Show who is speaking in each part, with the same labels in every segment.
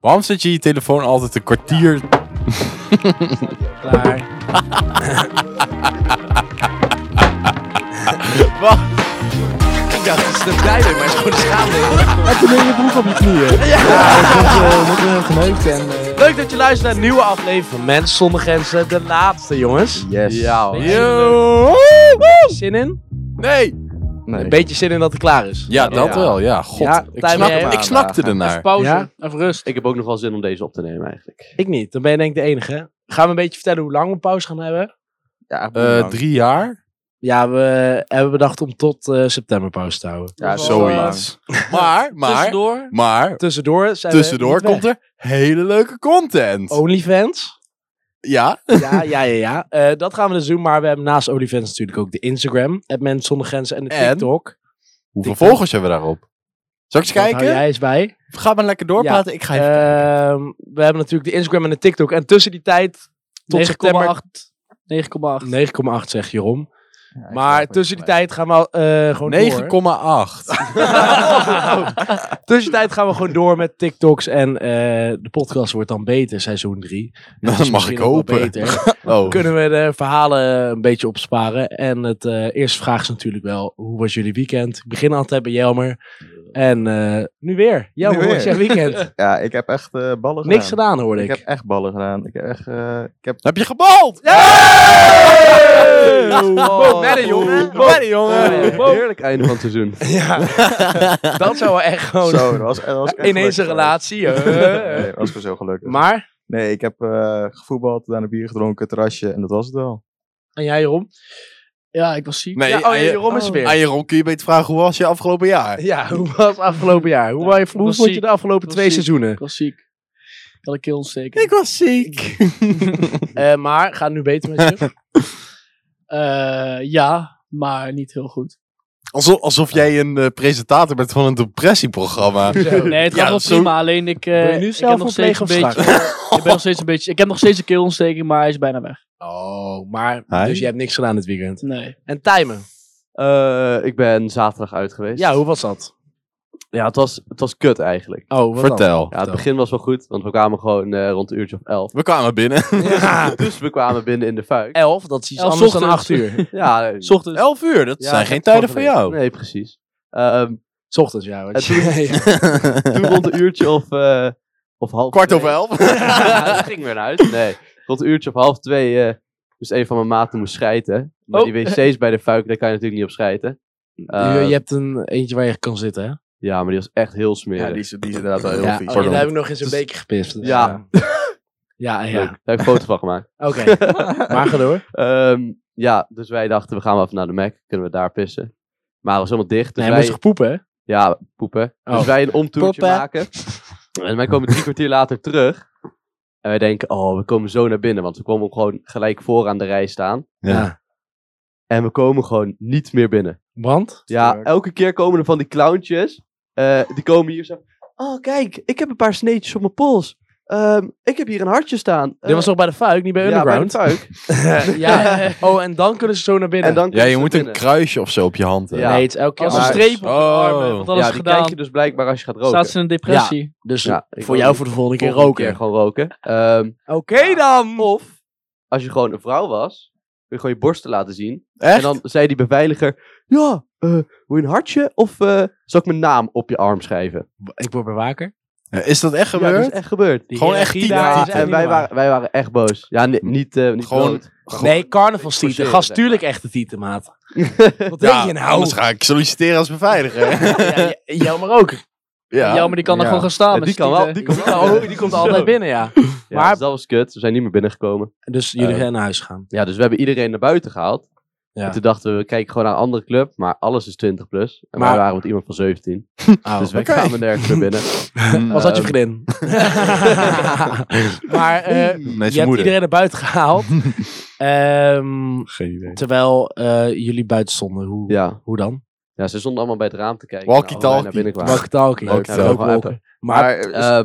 Speaker 1: Waarom zet je je telefoon altijd een kwartier?
Speaker 2: Klaar.
Speaker 1: Wat?
Speaker 3: Ik dacht, het is een pleider, maar het is gewoon een schaamde.
Speaker 2: En toen ben je broek op je knieën. Ja, ik vond, eh, dat heel geneukt en... eh,
Speaker 3: Leuk dat je luistert naar een nieuwe aflevering van Mens Zonder Grenzen. De laatste, jongens.
Speaker 2: Yes.
Speaker 3: Ja, hoor.
Speaker 1: Yo.
Speaker 3: Zin in?
Speaker 1: Nee.
Speaker 3: Een
Speaker 2: Nee.
Speaker 3: beetje zin in dat het klaar is.
Speaker 1: Ja, dat wel. Ja, god.
Speaker 3: Ja,
Speaker 1: ik,
Speaker 3: Tijmen,
Speaker 1: snap,
Speaker 3: jij-
Speaker 1: ik snakte
Speaker 4: Even
Speaker 1: ernaar.
Speaker 4: pauze,
Speaker 2: Ja?
Speaker 4: even rust.
Speaker 5: Ik heb ook nog wel zin om deze op te nemen eigenlijk.
Speaker 3: Ik niet. Dan ben je denk ik de enige. hè? Gaan we een beetje vertellen hoe lang we pauze gaan hebben?
Speaker 4: Ja,
Speaker 1: Eh, drie jaar?
Speaker 3: Ja, we hebben bedacht om tot eh, september pauze te houden.
Speaker 4: ja,
Speaker 1: Zoiets. Maar, maar,
Speaker 4: Tussendoor.
Speaker 1: maar,
Speaker 3: eh, Tussendoor zijn we
Speaker 1: tussendoor
Speaker 3: niet weg. Oh.
Speaker 1: komt er hele leuke content.
Speaker 3: OnlyFans.
Speaker 1: Ja,
Speaker 3: Ja, ja, ja, ja. Eh, dat gaan we dus doen. Maar we hebben naast OnlyFans natuurlijk ook de Instagram. Het Mens Zonder Grenzen en de
Speaker 1: En?
Speaker 3: TikTok.
Speaker 1: hoeveel volgers hebben we daarop? Zal ik eens
Speaker 3: Daar hou
Speaker 1: kijken?
Speaker 3: jij eens bij.
Speaker 1: Ga maar lekker doorpraten. Ik ga even
Speaker 3: Ehm, we hebben natuurlijk de Instagram en de TikTok. En tussen die tijd, tot
Speaker 4: 9,8.
Speaker 3: september...
Speaker 4: 9,8.
Speaker 3: 9,8 zeg Jeroen. maar tussen die tijd gaan we eh, gewoon door.
Speaker 1: 9,8.
Speaker 3: Tussen die tijd gaan we gewoon door met TikToks. En eh, de podcast wordt dan beter, seizoen 3.
Speaker 1: Nou, Dat mag ik hopen.
Speaker 3: Beter.
Speaker 1: Oh.
Speaker 3: Kunnen we de verhalen een beetje opsparen. En het eh, eerste vraag is natuurlijk wel, hoe was jullie weekend? Ik begin altijd bij Jelmer. En eh, nu weer. Jelmer,
Speaker 4: Nu
Speaker 3: hoe was
Speaker 4: weer.
Speaker 3: jouw weekend?
Speaker 4: Ja, ik heb echt eh, ballen gedaan.
Speaker 3: Niks gedaan hoorde
Speaker 4: Ik
Speaker 3: ik.
Speaker 4: heb echt ballen gedaan. Ik heb echt... eh, ik heb...
Speaker 1: Heb je gebald?
Speaker 5: Oh,
Speaker 3: Madden, jongen.
Speaker 5: oh,
Speaker 1: Kom jongen.
Speaker 5: oh, Heerlijk einde van het seizoen.
Speaker 3: Dat zou wel echt gewoon...
Speaker 4: Zo, dat was, dat was echt
Speaker 3: Oh, Ineens een
Speaker 4: leuk.
Speaker 3: relatie.
Speaker 4: Nee,
Speaker 3: eh.
Speaker 4: dat was gewoon zo gelukkig.
Speaker 3: maar,
Speaker 4: Nee, ik heb eh gevoetbald, daarna bier gedronken, terrasje en dat was het wel.
Speaker 3: en jij Jeroen?
Speaker 6: Ja, ik was ziek.
Speaker 1: Nee,
Speaker 3: ja, oh,
Speaker 1: aan
Speaker 3: ja,
Speaker 1: je-
Speaker 3: Jeroen is er weer.
Speaker 1: aan Jeroen kun je beter vragen hoe was je afgelopen jaar?
Speaker 3: Ja, hoe was het afgelopen jaar? Hoe, wou je- hoe
Speaker 6: was
Speaker 3: vond je
Speaker 6: ziek.
Speaker 3: de afgelopen
Speaker 6: Was
Speaker 3: twee
Speaker 6: ziek.
Speaker 3: seizoenen?
Speaker 6: Ik was ziek. Ik had een keelontsteking.
Speaker 1: Ik was ziek.
Speaker 3: Eh, maar, gaat het nu beter met je?
Speaker 6: Eh, ja, maar niet heel goed.
Speaker 1: Alsof, alsof jij een eh, presentator bent van een depressieprogramma.
Speaker 6: Nee, het gaat
Speaker 1: Ja,
Speaker 6: wel
Speaker 1: zo-
Speaker 6: prima. Alleen ik, eh,
Speaker 3: Wil je nu
Speaker 6: ik
Speaker 3: zelf
Speaker 6: heb nog steeds een
Speaker 3: opleggen of
Speaker 6: beetje... ik ben nog steeds een beetje... Ik heb nog steeds een keelontsteking, maar hij is bijna weg.
Speaker 3: Oh, maar,
Speaker 1: Hij?
Speaker 3: dus je hebt niks gedaan dit weekend.
Speaker 6: Nee.
Speaker 3: En timen.
Speaker 5: Eh, ik ben zaterdag uit geweest.
Speaker 3: Ja, hoe was dat?
Speaker 5: Ja, het was, het was kut eigenlijk.
Speaker 3: Oh, wat
Speaker 1: Vertel.
Speaker 5: Ja, het begin was wel goed, want we kwamen gewoon eh, rond een uurtje of elf.
Speaker 1: We kwamen binnen.
Speaker 5: Dus we kwamen binnen in de fuik.
Speaker 3: dan? Elf, dat is iets
Speaker 6: Elf
Speaker 3: anders dan acht
Speaker 6: ochtends.
Speaker 3: uur.
Speaker 5: Ja, eh,
Speaker 6: 's Ochtends.
Speaker 1: 11 uur, dat
Speaker 5: ja,
Speaker 1: zijn
Speaker 5: ik
Speaker 1: geen
Speaker 5: heb
Speaker 1: tijden
Speaker 5: het
Speaker 1: voor
Speaker 5: gewoon gelezen.
Speaker 1: jou.
Speaker 5: Nee, precies. Ehm,
Speaker 3: S ochtends, ja. want
Speaker 5: En
Speaker 3: je- ja.
Speaker 5: toen rond een uurtje of, eh, of half
Speaker 1: Kwart
Speaker 5: twee-
Speaker 1: over elf.
Speaker 5: Ja, dat ging weer naar huis. Nee, rond een uurtje of half twee eh, moest een van mijn maten moest schijten. Maar
Speaker 6: Oh.
Speaker 5: die wc's bij de fuik, daar kan je natuurlijk niet op schijten. Eh,
Speaker 3: je, je hebt een eentje waar je kan zitten, hè?
Speaker 5: Ja, maar die was echt heel smerig.
Speaker 4: Ja, die is, die is inderdaad wel heel
Speaker 3: ja,
Speaker 4: vies.
Speaker 3: oh, ja, daar heb ik nog eens een beker gepist. dus,
Speaker 5: Ja.
Speaker 3: eh, Ja, ja.
Speaker 5: Leuk. Daar heb ik een foto van gemaakt.
Speaker 3: Oké, maar ga door.
Speaker 5: Ehm, ja, dus wij dachten, we gaan wel even naar de Mac. Kunnen we daar pissen? Maar het was helemaal dicht. Dus
Speaker 3: Nee, hij
Speaker 5: wij...
Speaker 3: moest toch poepen, hè?
Speaker 5: Ja, poepen.
Speaker 3: Oh.
Speaker 5: Dus wij een omtoertje
Speaker 3: Poepen.
Speaker 5: maken. En wij komen drie kwartier later terug. En wij denken, oh, we komen zo naar binnen. Want we komen gewoon gelijk voor aan de rij staan.
Speaker 3: Ja.
Speaker 5: En we komen gewoon niet meer binnen.
Speaker 3: Want?
Speaker 5: Ja,
Speaker 4: Sterk.
Speaker 5: elke keer komen er van die clowntjes. eh, die komen hier zo. Oh, kijk, ik heb een paar sneetjes op mijn pols. Ehm, ik heb hier een hartje staan. Eh,
Speaker 3: Dit was toch bij de fuik, niet bij
Speaker 5: ja, bij de
Speaker 3: Underground?
Speaker 5: tuik.
Speaker 3: Ja. Oh, en dan kunnen ze zo naar binnen.
Speaker 5: En dan
Speaker 1: Ja, je
Speaker 5: komt
Speaker 1: moet
Speaker 5: er
Speaker 1: een
Speaker 5: binnen.
Speaker 1: kruisje of zo op je hand hebben.
Speaker 5: Ja.
Speaker 3: Nee, het is elke keer
Speaker 6: Als
Speaker 5: Ja,
Speaker 6: een
Speaker 3: anders.
Speaker 5: maar-
Speaker 6: streep op je arm,
Speaker 1: Oh.
Speaker 6: hè, want alles
Speaker 5: ja, die
Speaker 6: gedaan.
Speaker 5: krijg je dus blijkbaar als je gaat roken.
Speaker 6: Staat ze in een depressie.
Speaker 3: Dus
Speaker 5: Ja, ik
Speaker 3: voor
Speaker 5: wil
Speaker 3: jou
Speaker 5: niet
Speaker 3: voor de volgende keer
Speaker 5: Volgende
Speaker 3: roken.
Speaker 5: keer gewoon roken. Ehm,
Speaker 3: Oké dan! Of?
Speaker 5: als je gewoon een vrouw was, kun je gewoon je borsten laten zien.
Speaker 1: Echt?
Speaker 5: En dan zei die beveiliger, ja, eh, wil je een hartje of eh, zal ik mijn naam op je arm schrijven?
Speaker 3: Ik word bewaker.
Speaker 1: Is dat echt
Speaker 5: Ja, dus- dat
Speaker 1: gebeurd?
Speaker 5: is echt gebeurd.
Speaker 3: Die
Speaker 1: Gewoon
Speaker 3: hiërarchie
Speaker 1: echt
Speaker 3: daar
Speaker 1: tieten.
Speaker 3: is echt
Speaker 5: en
Speaker 3: niet
Speaker 5: wij
Speaker 3: normaal.
Speaker 5: waren, wij waren echt boos. Ja, ni- niet, eh, niet
Speaker 1: Gewoon-
Speaker 5: bloot.
Speaker 3: Nee, carnavalstieten.
Speaker 5: Forceren,
Speaker 3: Gast,
Speaker 5: zeg
Speaker 3: tuurlijk echte tieten, maat. Wat
Speaker 1: Ja,
Speaker 3: denk je nou?
Speaker 1: anders ga ik solliciteren als beveiliger.
Speaker 3: Ja, j- jou maar ook.
Speaker 1: ja.
Speaker 6: Ja, maar die kan er
Speaker 4: Ja.
Speaker 6: gewoon gaan staan.
Speaker 5: Ja,
Speaker 6: met
Speaker 5: die
Speaker 6: z'n
Speaker 5: kan wel.
Speaker 6: tieten.
Speaker 5: Die kan wel.
Speaker 3: Nou, die komt altijd binnen, ja.
Speaker 5: Ja,
Speaker 3: Maar-
Speaker 5: dus dat was kut. We zijn niet meer binnengekomen.
Speaker 3: Dus jullie
Speaker 5: Eh.
Speaker 3: gaan naar huis gaan.
Speaker 5: Ja, dus we hebben iedereen naar buiten gehaald.
Speaker 3: Ja.
Speaker 5: En toen dachten we, we kijken gewoon naar een andere club. Maar alles is 20 plus. En
Speaker 3: Maar-
Speaker 5: wij waren met iemand van 17. dus wij
Speaker 1: oké.
Speaker 5: kwamen nergens meer binnen.
Speaker 3: Oh, Was dat je
Speaker 5: Ehm.
Speaker 3: vriendin? maar eh,
Speaker 1: Nee,
Speaker 3: je
Speaker 1: zijn
Speaker 3: hebt
Speaker 1: moeder.
Speaker 3: iedereen naar buiten gehaald. Ehm,
Speaker 1: Geen idee.
Speaker 3: terwijl eh, jullie buiten stonden. Hoe,
Speaker 5: Ja.
Speaker 3: hoe dan?
Speaker 5: ja, ze stonden allemaal bij het raam te kijken.
Speaker 1: Walkie-talkie.
Speaker 5: Nou, wij naar binnen kwamen.
Speaker 3: Welke taal
Speaker 1: Walkie-talkie.
Speaker 3: Maar,
Speaker 5: Maar,
Speaker 4: Maar, eh,
Speaker 5: eh,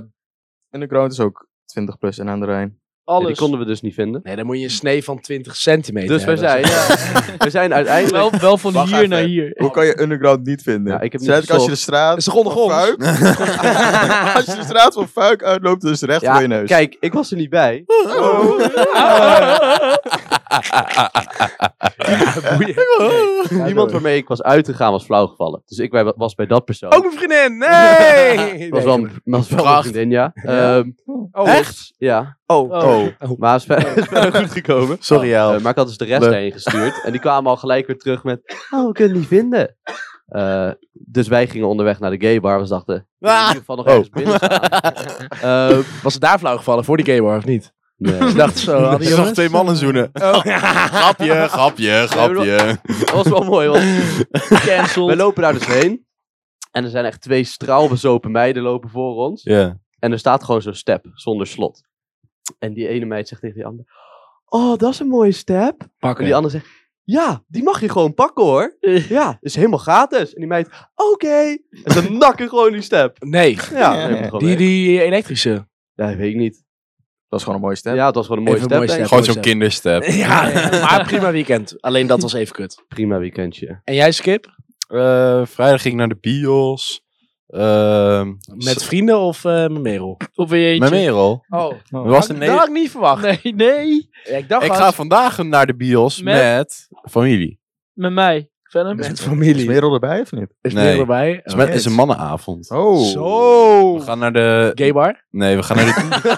Speaker 4: in de ground is ook 20 plus en aan de Rijn.
Speaker 5: En die
Speaker 6: Alles.
Speaker 5: konden we dus niet vinden.
Speaker 3: Nee, dan moet je een snee van 20 centimeter
Speaker 5: Dus wij
Speaker 3: hebben.
Speaker 5: zijn, we zijn uiteindelijk...
Speaker 6: wel, wel van
Speaker 4: Wacht
Speaker 6: hier
Speaker 4: even.
Speaker 6: naar hier.
Speaker 4: Hoe kan je underground niet vinden?
Speaker 5: Ja, ik heb niet
Speaker 4: Zet als je de
Speaker 5: gezocht.
Speaker 4: straat
Speaker 3: Is toch ondergronds?
Speaker 4: van Fuik- als je de straat van Fuik uitloopt, is het recht voor je
Speaker 5: Ja,
Speaker 4: neus.
Speaker 5: kijk, ik was er niet bij. Iemand waarmee ik was uit te gaan was flauwgevallen. Dus ik wa- was bij dat persoon.
Speaker 3: Ook mijn vriendin! Nee! Nee,
Speaker 5: was wel een, was wel een
Speaker 3: Pracht.
Speaker 5: vriendin, ja.
Speaker 3: Ja.
Speaker 5: Ehm,
Speaker 3: Echt?
Speaker 5: ja.
Speaker 1: Oh.
Speaker 4: Oh,
Speaker 5: Maar het is ver- is verder goed gekomen.
Speaker 1: Sorry,
Speaker 5: Eh,
Speaker 1: El.
Speaker 5: maar ik had dus de rest
Speaker 1: Leuk.
Speaker 5: heen gestuurd. En die kwamen al gelijk weer terug met... Oh, we kunnen het niet vinden. Eh, dus wij gingen onderweg naar de gay bar. We dachten, we moeten in ieder geval nog
Speaker 1: Oh.
Speaker 5: ergens binnen staan.
Speaker 3: Eh,
Speaker 5: Ehm,
Speaker 3: Was het daar flauw gevallen voor die gay bar of niet?
Speaker 5: nee.
Speaker 3: Ik dacht zo, hadden
Speaker 1: Er zijn nog
Speaker 3: jongens...
Speaker 1: twee mannen zoenen. grapje, grapje, grapje.
Speaker 5: Dat was wel mooi, want we
Speaker 6: Cancel.
Speaker 5: lopen daar dus heen. En er zijn echt twee straalbezopen meiden lopen voor ons.
Speaker 1: Ja.
Speaker 5: En er staat gewoon zo'n step zonder slot. En die ene meid zegt tegen die andere: Oh, dat is een mooie step. En
Speaker 3: Pakken.
Speaker 5: die andere zegt: Ja, die mag je gewoon pakken hoor. Ja, is helemaal gratis. En die meid: Oké. En ze nakken gewoon die step.
Speaker 3: Nee,
Speaker 5: Ja,
Speaker 4: Ja.
Speaker 5: neem hem gewoon
Speaker 3: die,
Speaker 5: mee.
Speaker 3: die elektrische.
Speaker 5: Ja, weet ik niet.
Speaker 4: dat is gewoon een mooie stem.
Speaker 5: Ja, het was gewoon een mooie
Speaker 3: Even
Speaker 5: step.
Speaker 3: een mooie
Speaker 5: denk ik.
Speaker 1: Gewoon zo'n kinderstep.
Speaker 3: Ja, maar prima weekend. Alleen dat was even kut.
Speaker 5: Prima weekendje.
Speaker 3: En jij, Skip?
Speaker 1: Eh, vrijdag ging ik naar de bios. Ehm,
Speaker 3: Met vrienden of eh met Merel?
Speaker 6: Of een
Speaker 1: Mijn
Speaker 6: jeetje.
Speaker 1: merel.
Speaker 6: Oh.
Speaker 1: Er was een
Speaker 3: Dat had ik niet verwacht.
Speaker 6: Nee, nee.
Speaker 3: Ja, ik dacht
Speaker 1: Ik
Speaker 3: al-
Speaker 1: ga vandaag naar de bios
Speaker 6: Met?
Speaker 1: met, familie.
Speaker 6: Met mij. Verder?
Speaker 3: met
Speaker 4: Is
Speaker 3: familie.
Speaker 4: Merel erbij of niet?
Speaker 3: Is
Speaker 1: Nee.
Speaker 3: Merel erbij?
Speaker 1: Het is, met- is een mannenavond.
Speaker 4: Oh.
Speaker 3: Zo.
Speaker 1: We gaan naar de...
Speaker 3: Gay bar?
Speaker 1: Nee, we gaan naar de...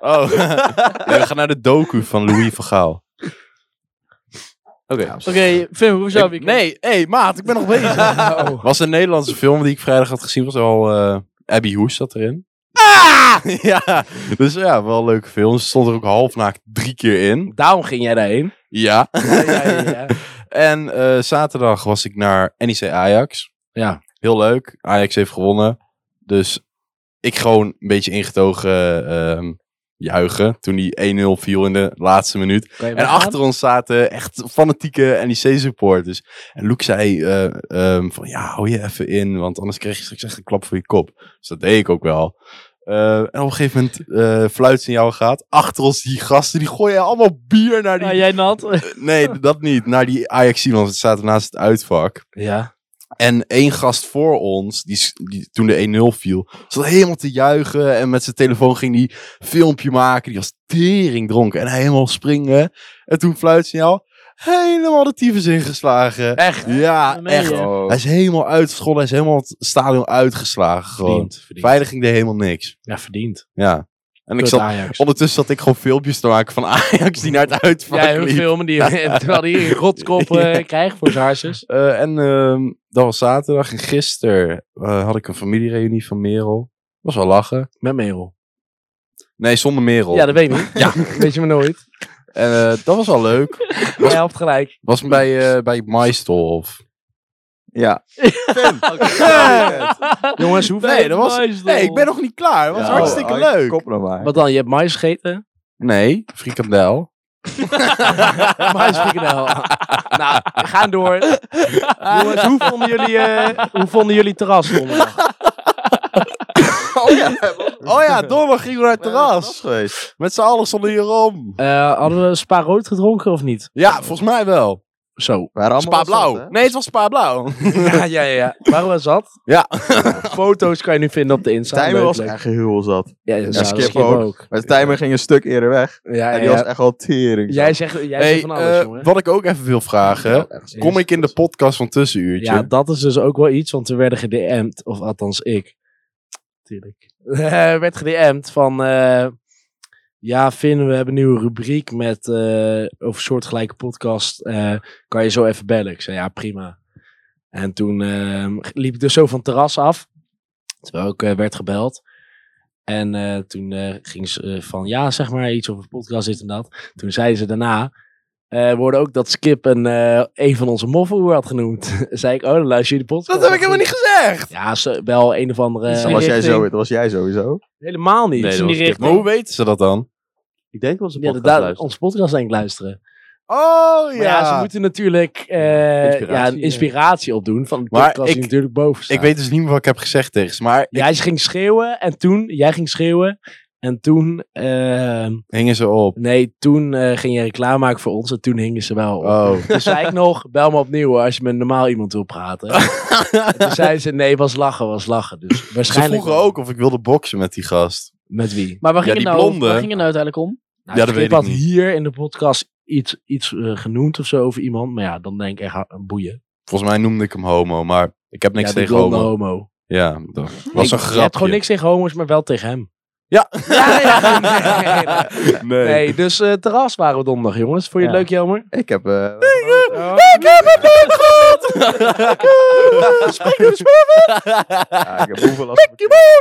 Speaker 1: oh. Nee, we gaan naar de docu van Louis van Gaal.
Speaker 5: Oké.
Speaker 6: Oké, Fim, hoe zou ik...
Speaker 1: Nee, hé maat, ik ben nog bezig.
Speaker 3: Oh.
Speaker 1: was een Nederlandse film die ik vrijdag had gezien. Was al eh, Abby Hoes zat erin. Ah! ja, dus ja, wel een leuke film. Ze stond er ook half naakt drie keer in.
Speaker 3: Daarom ging jij daarheen.
Speaker 1: Ja.
Speaker 3: Ja, ja, ja.
Speaker 1: En eh, zaterdag was ik naar NEC Ajax.
Speaker 3: Ja.
Speaker 1: Heel leuk. Ajax heeft gewonnen. Dus ik gewoon een beetje ingetogen ehm, juichen. Toen die 1-0 viel in de laatste minuut.
Speaker 3: Kan je
Speaker 1: En
Speaker 3: weggaan?
Speaker 1: achter ons zaten echt fanatieke NEC-supporters. En Luke zei eh, ehm, van ja, hou je even in, want anders krijg je straks echt een klap voor je kop. Dus dat deed ik ook wel. Eh, en op een gegeven moment eh fluitsignaal gaat. Achter ons die gasten, die gooien allemaal bier naar die...
Speaker 6: Ah, jij nat?
Speaker 1: Nee, dat niet. Naar die ajax want het zaten naast het uitvak.
Speaker 3: Ja.
Speaker 1: En één gast voor ons, die, s- die toen de 1-0 viel, zat helemaal te juichen. En met zijn telefoon ging die filmpje maken. Die was tering dronken. En hij helemaal springen. En toen fluitsignaal. Helemaal de tyfus ingeslagen.
Speaker 3: Echt?
Speaker 1: Ja,
Speaker 6: Dat meen
Speaker 1: Ah, echt.
Speaker 6: je.
Speaker 4: Oh.
Speaker 1: Hij is helemaal uitgescholden. Hij is helemaal het stadion uitgeslagen. Gewoon.
Speaker 3: Verdiend. verdiend.
Speaker 1: Veilig ging er helemaal niks.
Speaker 3: Ja, verdiend.
Speaker 1: Ja. En ik
Speaker 3: Kut
Speaker 1: zat,
Speaker 3: Ajax.
Speaker 1: ondertussen zat ik gewoon filmpjes te maken van Ajax die naar het uitvak
Speaker 3: Ja, hun
Speaker 1: liep.
Speaker 3: filmen die terwijl hij een rotskop eh, krijgt voor zijn harses.
Speaker 1: Eh, en ehm, dat was zaterdag. En gisteren eh, had ik een familiereunie van Merel. Was wel lachen.
Speaker 3: Met Merel.
Speaker 1: Nee, zonder Merel.
Speaker 3: Ja, dat weet ik niet. Ja. Weet je me nooit.
Speaker 1: En eh, dat was wel leuk.
Speaker 3: Jij helpt gelijk.
Speaker 1: Was bij, eh bij Maistolf.
Speaker 4: Ja.
Speaker 3: Jongens, hoeveel?
Speaker 1: Nee, dat was...
Speaker 6: Nice,
Speaker 1: Nee, ik ben
Speaker 6: lol.
Speaker 1: nog niet klaar. Dat was
Speaker 4: Ja,
Speaker 1: hartstikke
Speaker 4: oh,
Speaker 1: leuk.
Speaker 4: Kop nog maar.
Speaker 3: Wat dan? Je hebt mais gegeten?
Speaker 1: Nee, frikandel.
Speaker 3: mais frikandel. nou, we gaan door. Jongens, hoe vonden jullie, eh, hoe vonden jullie terras donderdag?
Speaker 1: Oh ja, donderdag gingen we naar het terras.
Speaker 4: geweest.
Speaker 1: Met z'n allen stonden hier om.
Speaker 3: Eh, hadden we spa rood gedronken of niet?
Speaker 1: Ja, volgens mij wel.
Speaker 3: Zo.
Speaker 4: Waren allemaal
Speaker 1: Spa
Speaker 4: wel zat,
Speaker 1: blauw. Nee, het was spa blauw.
Speaker 3: Ja, ja, ja. Waren we zat?
Speaker 1: Ja.
Speaker 3: Foto's kan je nu vinden op de Insta.
Speaker 4: hè? Timer
Speaker 3: Leuk,
Speaker 4: was
Speaker 3: leuk.
Speaker 4: echt heel zat.
Speaker 3: Ja, ja,
Speaker 4: Skip
Speaker 3: Skip
Speaker 4: ook.
Speaker 3: ook.
Speaker 4: Maar de timer ging een stuk eerder weg.
Speaker 3: Ja, ja,
Speaker 4: En die
Speaker 3: ja.
Speaker 4: was echt al tering.
Speaker 3: Jij zegt, jij
Speaker 1: Hey,
Speaker 3: zegt van alles,
Speaker 1: eh,
Speaker 3: jongen.
Speaker 1: wat ik ook even wil vragen. Kom ik in de podcast van Tussenuurtje?
Speaker 3: Ja, dat is dus ook wel iets, want we werden gedm'd, of althans ik. Tuurlijk. Eh, werd gedm'd van, eh, ja Finn, we hebben een nieuwe rubriek met, eh over soortgelijke podcast. eh, kan je zo even bellen? Ik zei, ja prima. En toen eh, liep ik dus zo van het terras af, terwijl ik eh, werd gebeld. En eh, toen eh, ging ze eh, van, ja zeg maar iets over podcast, dit en dat. Toen zei ze daarna, eh we hoorden ook dat Skip een, eh, een van onze moffen had genoemd. zei ik, oh, dan luister je de podcast.
Speaker 1: Dat heb ik helemaal niet gezegd.
Speaker 3: Ja, ze, wel een of andere...
Speaker 6: Is
Speaker 4: Dat
Speaker 6: die
Speaker 4: was jij,
Speaker 6: richting.
Speaker 4: zo, dat was jij sowieso.
Speaker 3: helemaal niet.
Speaker 6: Nee, dat was Skip.
Speaker 1: Maar hoe weten ze dat dan?
Speaker 5: Ik denk wel ze
Speaker 3: Ja,
Speaker 5: podcast
Speaker 3: inderdaad,
Speaker 5: luisteren.
Speaker 3: onze podcast denk ik luisteren.
Speaker 1: Oh
Speaker 3: Maar ja, ze moeten natuurlijk eh,
Speaker 5: Inspiratie,
Speaker 3: ja, een
Speaker 5: ja.
Speaker 3: inspiratie opdoen van de
Speaker 1: Maar
Speaker 3: podcast die
Speaker 1: ik-
Speaker 3: natuurlijk boven staat.
Speaker 1: Ik weet dus niet meer wat ik heb gezegd tegen ze. Maar
Speaker 3: Jij ging schreeuwen en toen, jij ging schreeuwen. En En toen, eh,
Speaker 1: Hingen ze op.
Speaker 3: nee, toen eh, ging je reclame maken voor ons en toen hingen ze wel op.
Speaker 1: Oh.
Speaker 3: Toen zei ik nog, bel me opnieuw hoor, als je met normaal iemand wil praten. En toen zei ze, nee, was lachen, was lachen. Dus
Speaker 1: Ze
Speaker 3: waarschijnlijk
Speaker 1: vroegen ook of ik wilde boksen met die gast.
Speaker 3: met wie.
Speaker 6: Maar waar
Speaker 1: Ja,
Speaker 6: ging,
Speaker 1: die
Speaker 6: het nou,
Speaker 1: blonde.
Speaker 6: waar ging het nou uiteindelijk om?
Speaker 3: Nou,
Speaker 1: Ja,
Speaker 3: ik
Speaker 1: dat weet
Speaker 3: heb
Speaker 1: ik
Speaker 3: had
Speaker 1: niet.
Speaker 3: hier in de podcast iets, iets eh, genoemd of zo over iemand. Maar ja, dan denk ik echt ah, boeien.
Speaker 1: Volgens mij noemde ik hem homo, maar ik heb niks
Speaker 3: ja, die
Speaker 1: tegen
Speaker 3: blonde
Speaker 1: homo.
Speaker 3: homo.
Speaker 1: Ja, dat was een
Speaker 3: Ik- Je hebt
Speaker 1: grapje.
Speaker 3: gewoon niks tegen homo's, maar wel tegen hem.
Speaker 1: Ja.
Speaker 3: ja, ja, nee, nee, nee.
Speaker 1: nee.
Speaker 3: Nee, dus eh, terras waren we donderdag, jongens. Vond je het
Speaker 4: Ja.
Speaker 3: leuk, Jelmer?
Speaker 4: Ik heb... eh,
Speaker 1: Ik heb het niet gehad!
Speaker 4: ja, ik heb hoeveel last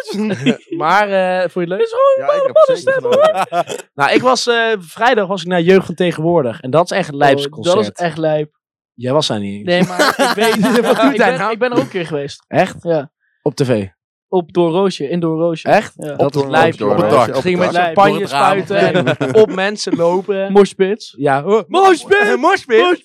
Speaker 4: van-
Speaker 3: Maar eh, vond je het leuk?
Speaker 4: Ja, ik heb zeker genoten.
Speaker 3: Nou, ik was eh, vrijdag was ik naar Jeugd van Tegenwoordig. En dat is echt een lijps
Speaker 6: Oh, dat is echt lijp.
Speaker 3: Jij was daar niet eens.
Speaker 6: Nee, maar ik weet niet
Speaker 3: Wat doet hij
Speaker 6: ik, ben,
Speaker 3: nou?
Speaker 6: ik ben er ook een keer geweest.
Speaker 3: Echt?
Speaker 6: Ja.
Speaker 3: Op tv.
Speaker 6: Op Doorroosje, in Doorroosje.
Speaker 3: Echt? Oh.
Speaker 6: Ja.
Speaker 3: dat is lijp.
Speaker 1: Op het
Speaker 3: jongen.
Speaker 1: dak.
Speaker 3: Ik ging
Speaker 4: Op
Speaker 3: met
Speaker 4: het
Speaker 6: dak. Door
Speaker 3: champagne
Speaker 6: het raam.
Speaker 3: spuiten en op mensen lopen.
Speaker 6: Moshpits.
Speaker 3: Ja, oh, moshpit!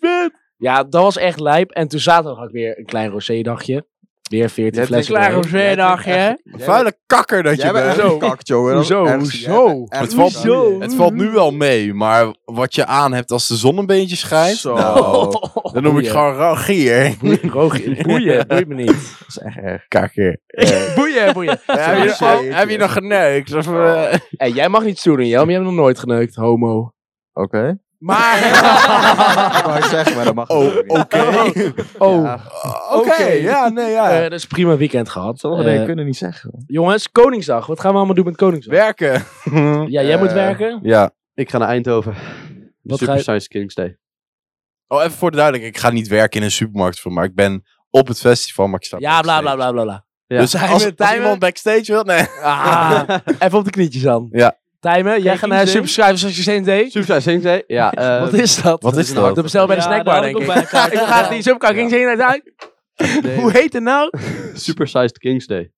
Speaker 3: Ja, dat was echt lijp. En toen zaterdag had ik weer een klein rosé-dagje. Weer 14
Speaker 4: Jij
Speaker 3: flessen.
Speaker 4: drinkt
Speaker 3: wijn.
Speaker 4: klaar rosé. Jij bent-
Speaker 1: Vuile kakker dat je
Speaker 4: Jij
Speaker 1: bent.
Speaker 4: bent zo kakt, jongen. Dat is
Speaker 3: Hoezo?
Speaker 4: ergste. Jij
Speaker 3: Hoezo?
Speaker 4: bent erg-
Speaker 1: Het valt-
Speaker 4: Hoezo?
Speaker 1: Het valt nu wel mee, maar wat je aan hebt als de zon een beetje schijnt,
Speaker 4: Zo.
Speaker 1: nou, dan noem ik
Speaker 3: Oh, Boeien.
Speaker 1: gewoon rogier.
Speaker 3: Rogier, Boeien, boeit me niet.
Speaker 4: Dat is echt erg.
Speaker 1: eh, Kakker. Eh.
Speaker 3: Boeien, boeien.
Speaker 1: heb, je,
Speaker 4: Jeetje.
Speaker 1: oh, heb je nog geneukt? Of, eh,
Speaker 3: Hey, jij mag niet stoer doen, Jelm. Je hebt nog nooit geneukt, homo.
Speaker 4: Oké.
Speaker 3: Maar...
Speaker 4: Ik wou het zeggen, maar dat mag
Speaker 1: Oh,
Speaker 4: natuurlijk
Speaker 1: oké.
Speaker 4: niet.
Speaker 3: oh,
Speaker 4: Ja,
Speaker 1: Oké, ja, nee, ja.
Speaker 3: eh, dat is een prima weekend gehad.
Speaker 4: Sommige
Speaker 3: Eh,
Speaker 4: dingen kunnen niet zeggen.
Speaker 3: jongens, Koningsdag. Wat gaan we allemaal doen met Koningsdag?
Speaker 1: Werken.
Speaker 3: ja, jij moet
Speaker 4: Eh,
Speaker 3: werken.
Speaker 1: Ja.
Speaker 5: Ik ga naar Eindhoven.
Speaker 3: Wat
Speaker 5: Super
Speaker 3: ga je-
Speaker 5: Science Kings Day.
Speaker 1: Oh, even voor de duidelijkheid. Ik ga niet werken in een supermarkt voor, maar ik ben op het festival, maar ik sta
Speaker 3: Ja, bla
Speaker 1: backstage.
Speaker 3: bla bla bla bla.
Speaker 5: Ja.
Speaker 1: Dus
Speaker 3: Timen,
Speaker 1: als, als
Speaker 3: timen.
Speaker 1: iemand backstage wil, nee.
Speaker 3: Ah, even op de knietjes dan.
Speaker 1: Ja.
Speaker 3: Tijmen, jij gaat naar
Speaker 5: kiezen?
Speaker 3: Super Schrijvers als je steeds deed.
Speaker 5: Super Science Kings Day. Ja, eh,
Speaker 3: Wat is dat?
Speaker 1: Wat is dat?
Speaker 3: Dat bestel bij de
Speaker 6: Ja,
Speaker 3: snackbar,
Speaker 6: daar
Speaker 3: denk
Speaker 6: had
Speaker 3: ik.
Speaker 6: ik ook bij elkaar.
Speaker 3: ik ga die Super Kings heen en uit.
Speaker 5: nee,
Speaker 3: nou Hoe heet het nou?
Speaker 5: Super Sized Kings Day.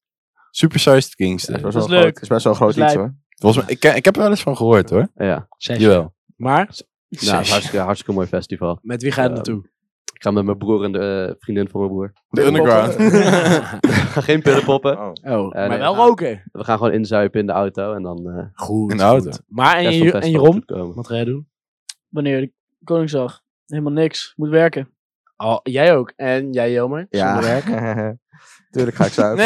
Speaker 1: Supersized Kings.
Speaker 4: Het
Speaker 6: Dat is
Speaker 4: wel
Speaker 6: leuk.
Speaker 4: groot- Het is best wel een groot
Speaker 6: Dat is
Speaker 4: iets
Speaker 6: lijp.
Speaker 4: hoor.
Speaker 1: Volgens mij, ik, ik heb er wel eens van gehoord hoor.
Speaker 5: Ja,
Speaker 1: Jawel.
Speaker 3: Maar,
Speaker 5: nou, het is hartstikke, hartstikke mooi festival.
Speaker 3: met wie ga je
Speaker 5: Ja.
Speaker 3: naartoe?
Speaker 5: Ik ga met mijn broer en de eh, vriendin van mijn broer.
Speaker 1: De underground.
Speaker 5: We gaan geen pillen poppen.
Speaker 3: Oh, maar
Speaker 5: nee.
Speaker 3: wel roken.
Speaker 5: We gaan gewoon inzuipen in de auto en dan... eh
Speaker 3: Goed.
Speaker 1: In de auto.
Speaker 3: goed. Maar, en,
Speaker 5: rest
Speaker 3: je,
Speaker 5: van het
Speaker 3: en
Speaker 5: festival
Speaker 3: Jeroen?
Speaker 5: goed komen.
Speaker 3: Wat ga jij doen?
Speaker 6: Wanneer de Koningsdag. Helemaal niks. Moet werken.
Speaker 3: Oh, jij ook. En jij, Jelmer?
Speaker 4: Ja.
Speaker 3: Zonder werk?
Speaker 4: Tuurlijk ga ik zuipen.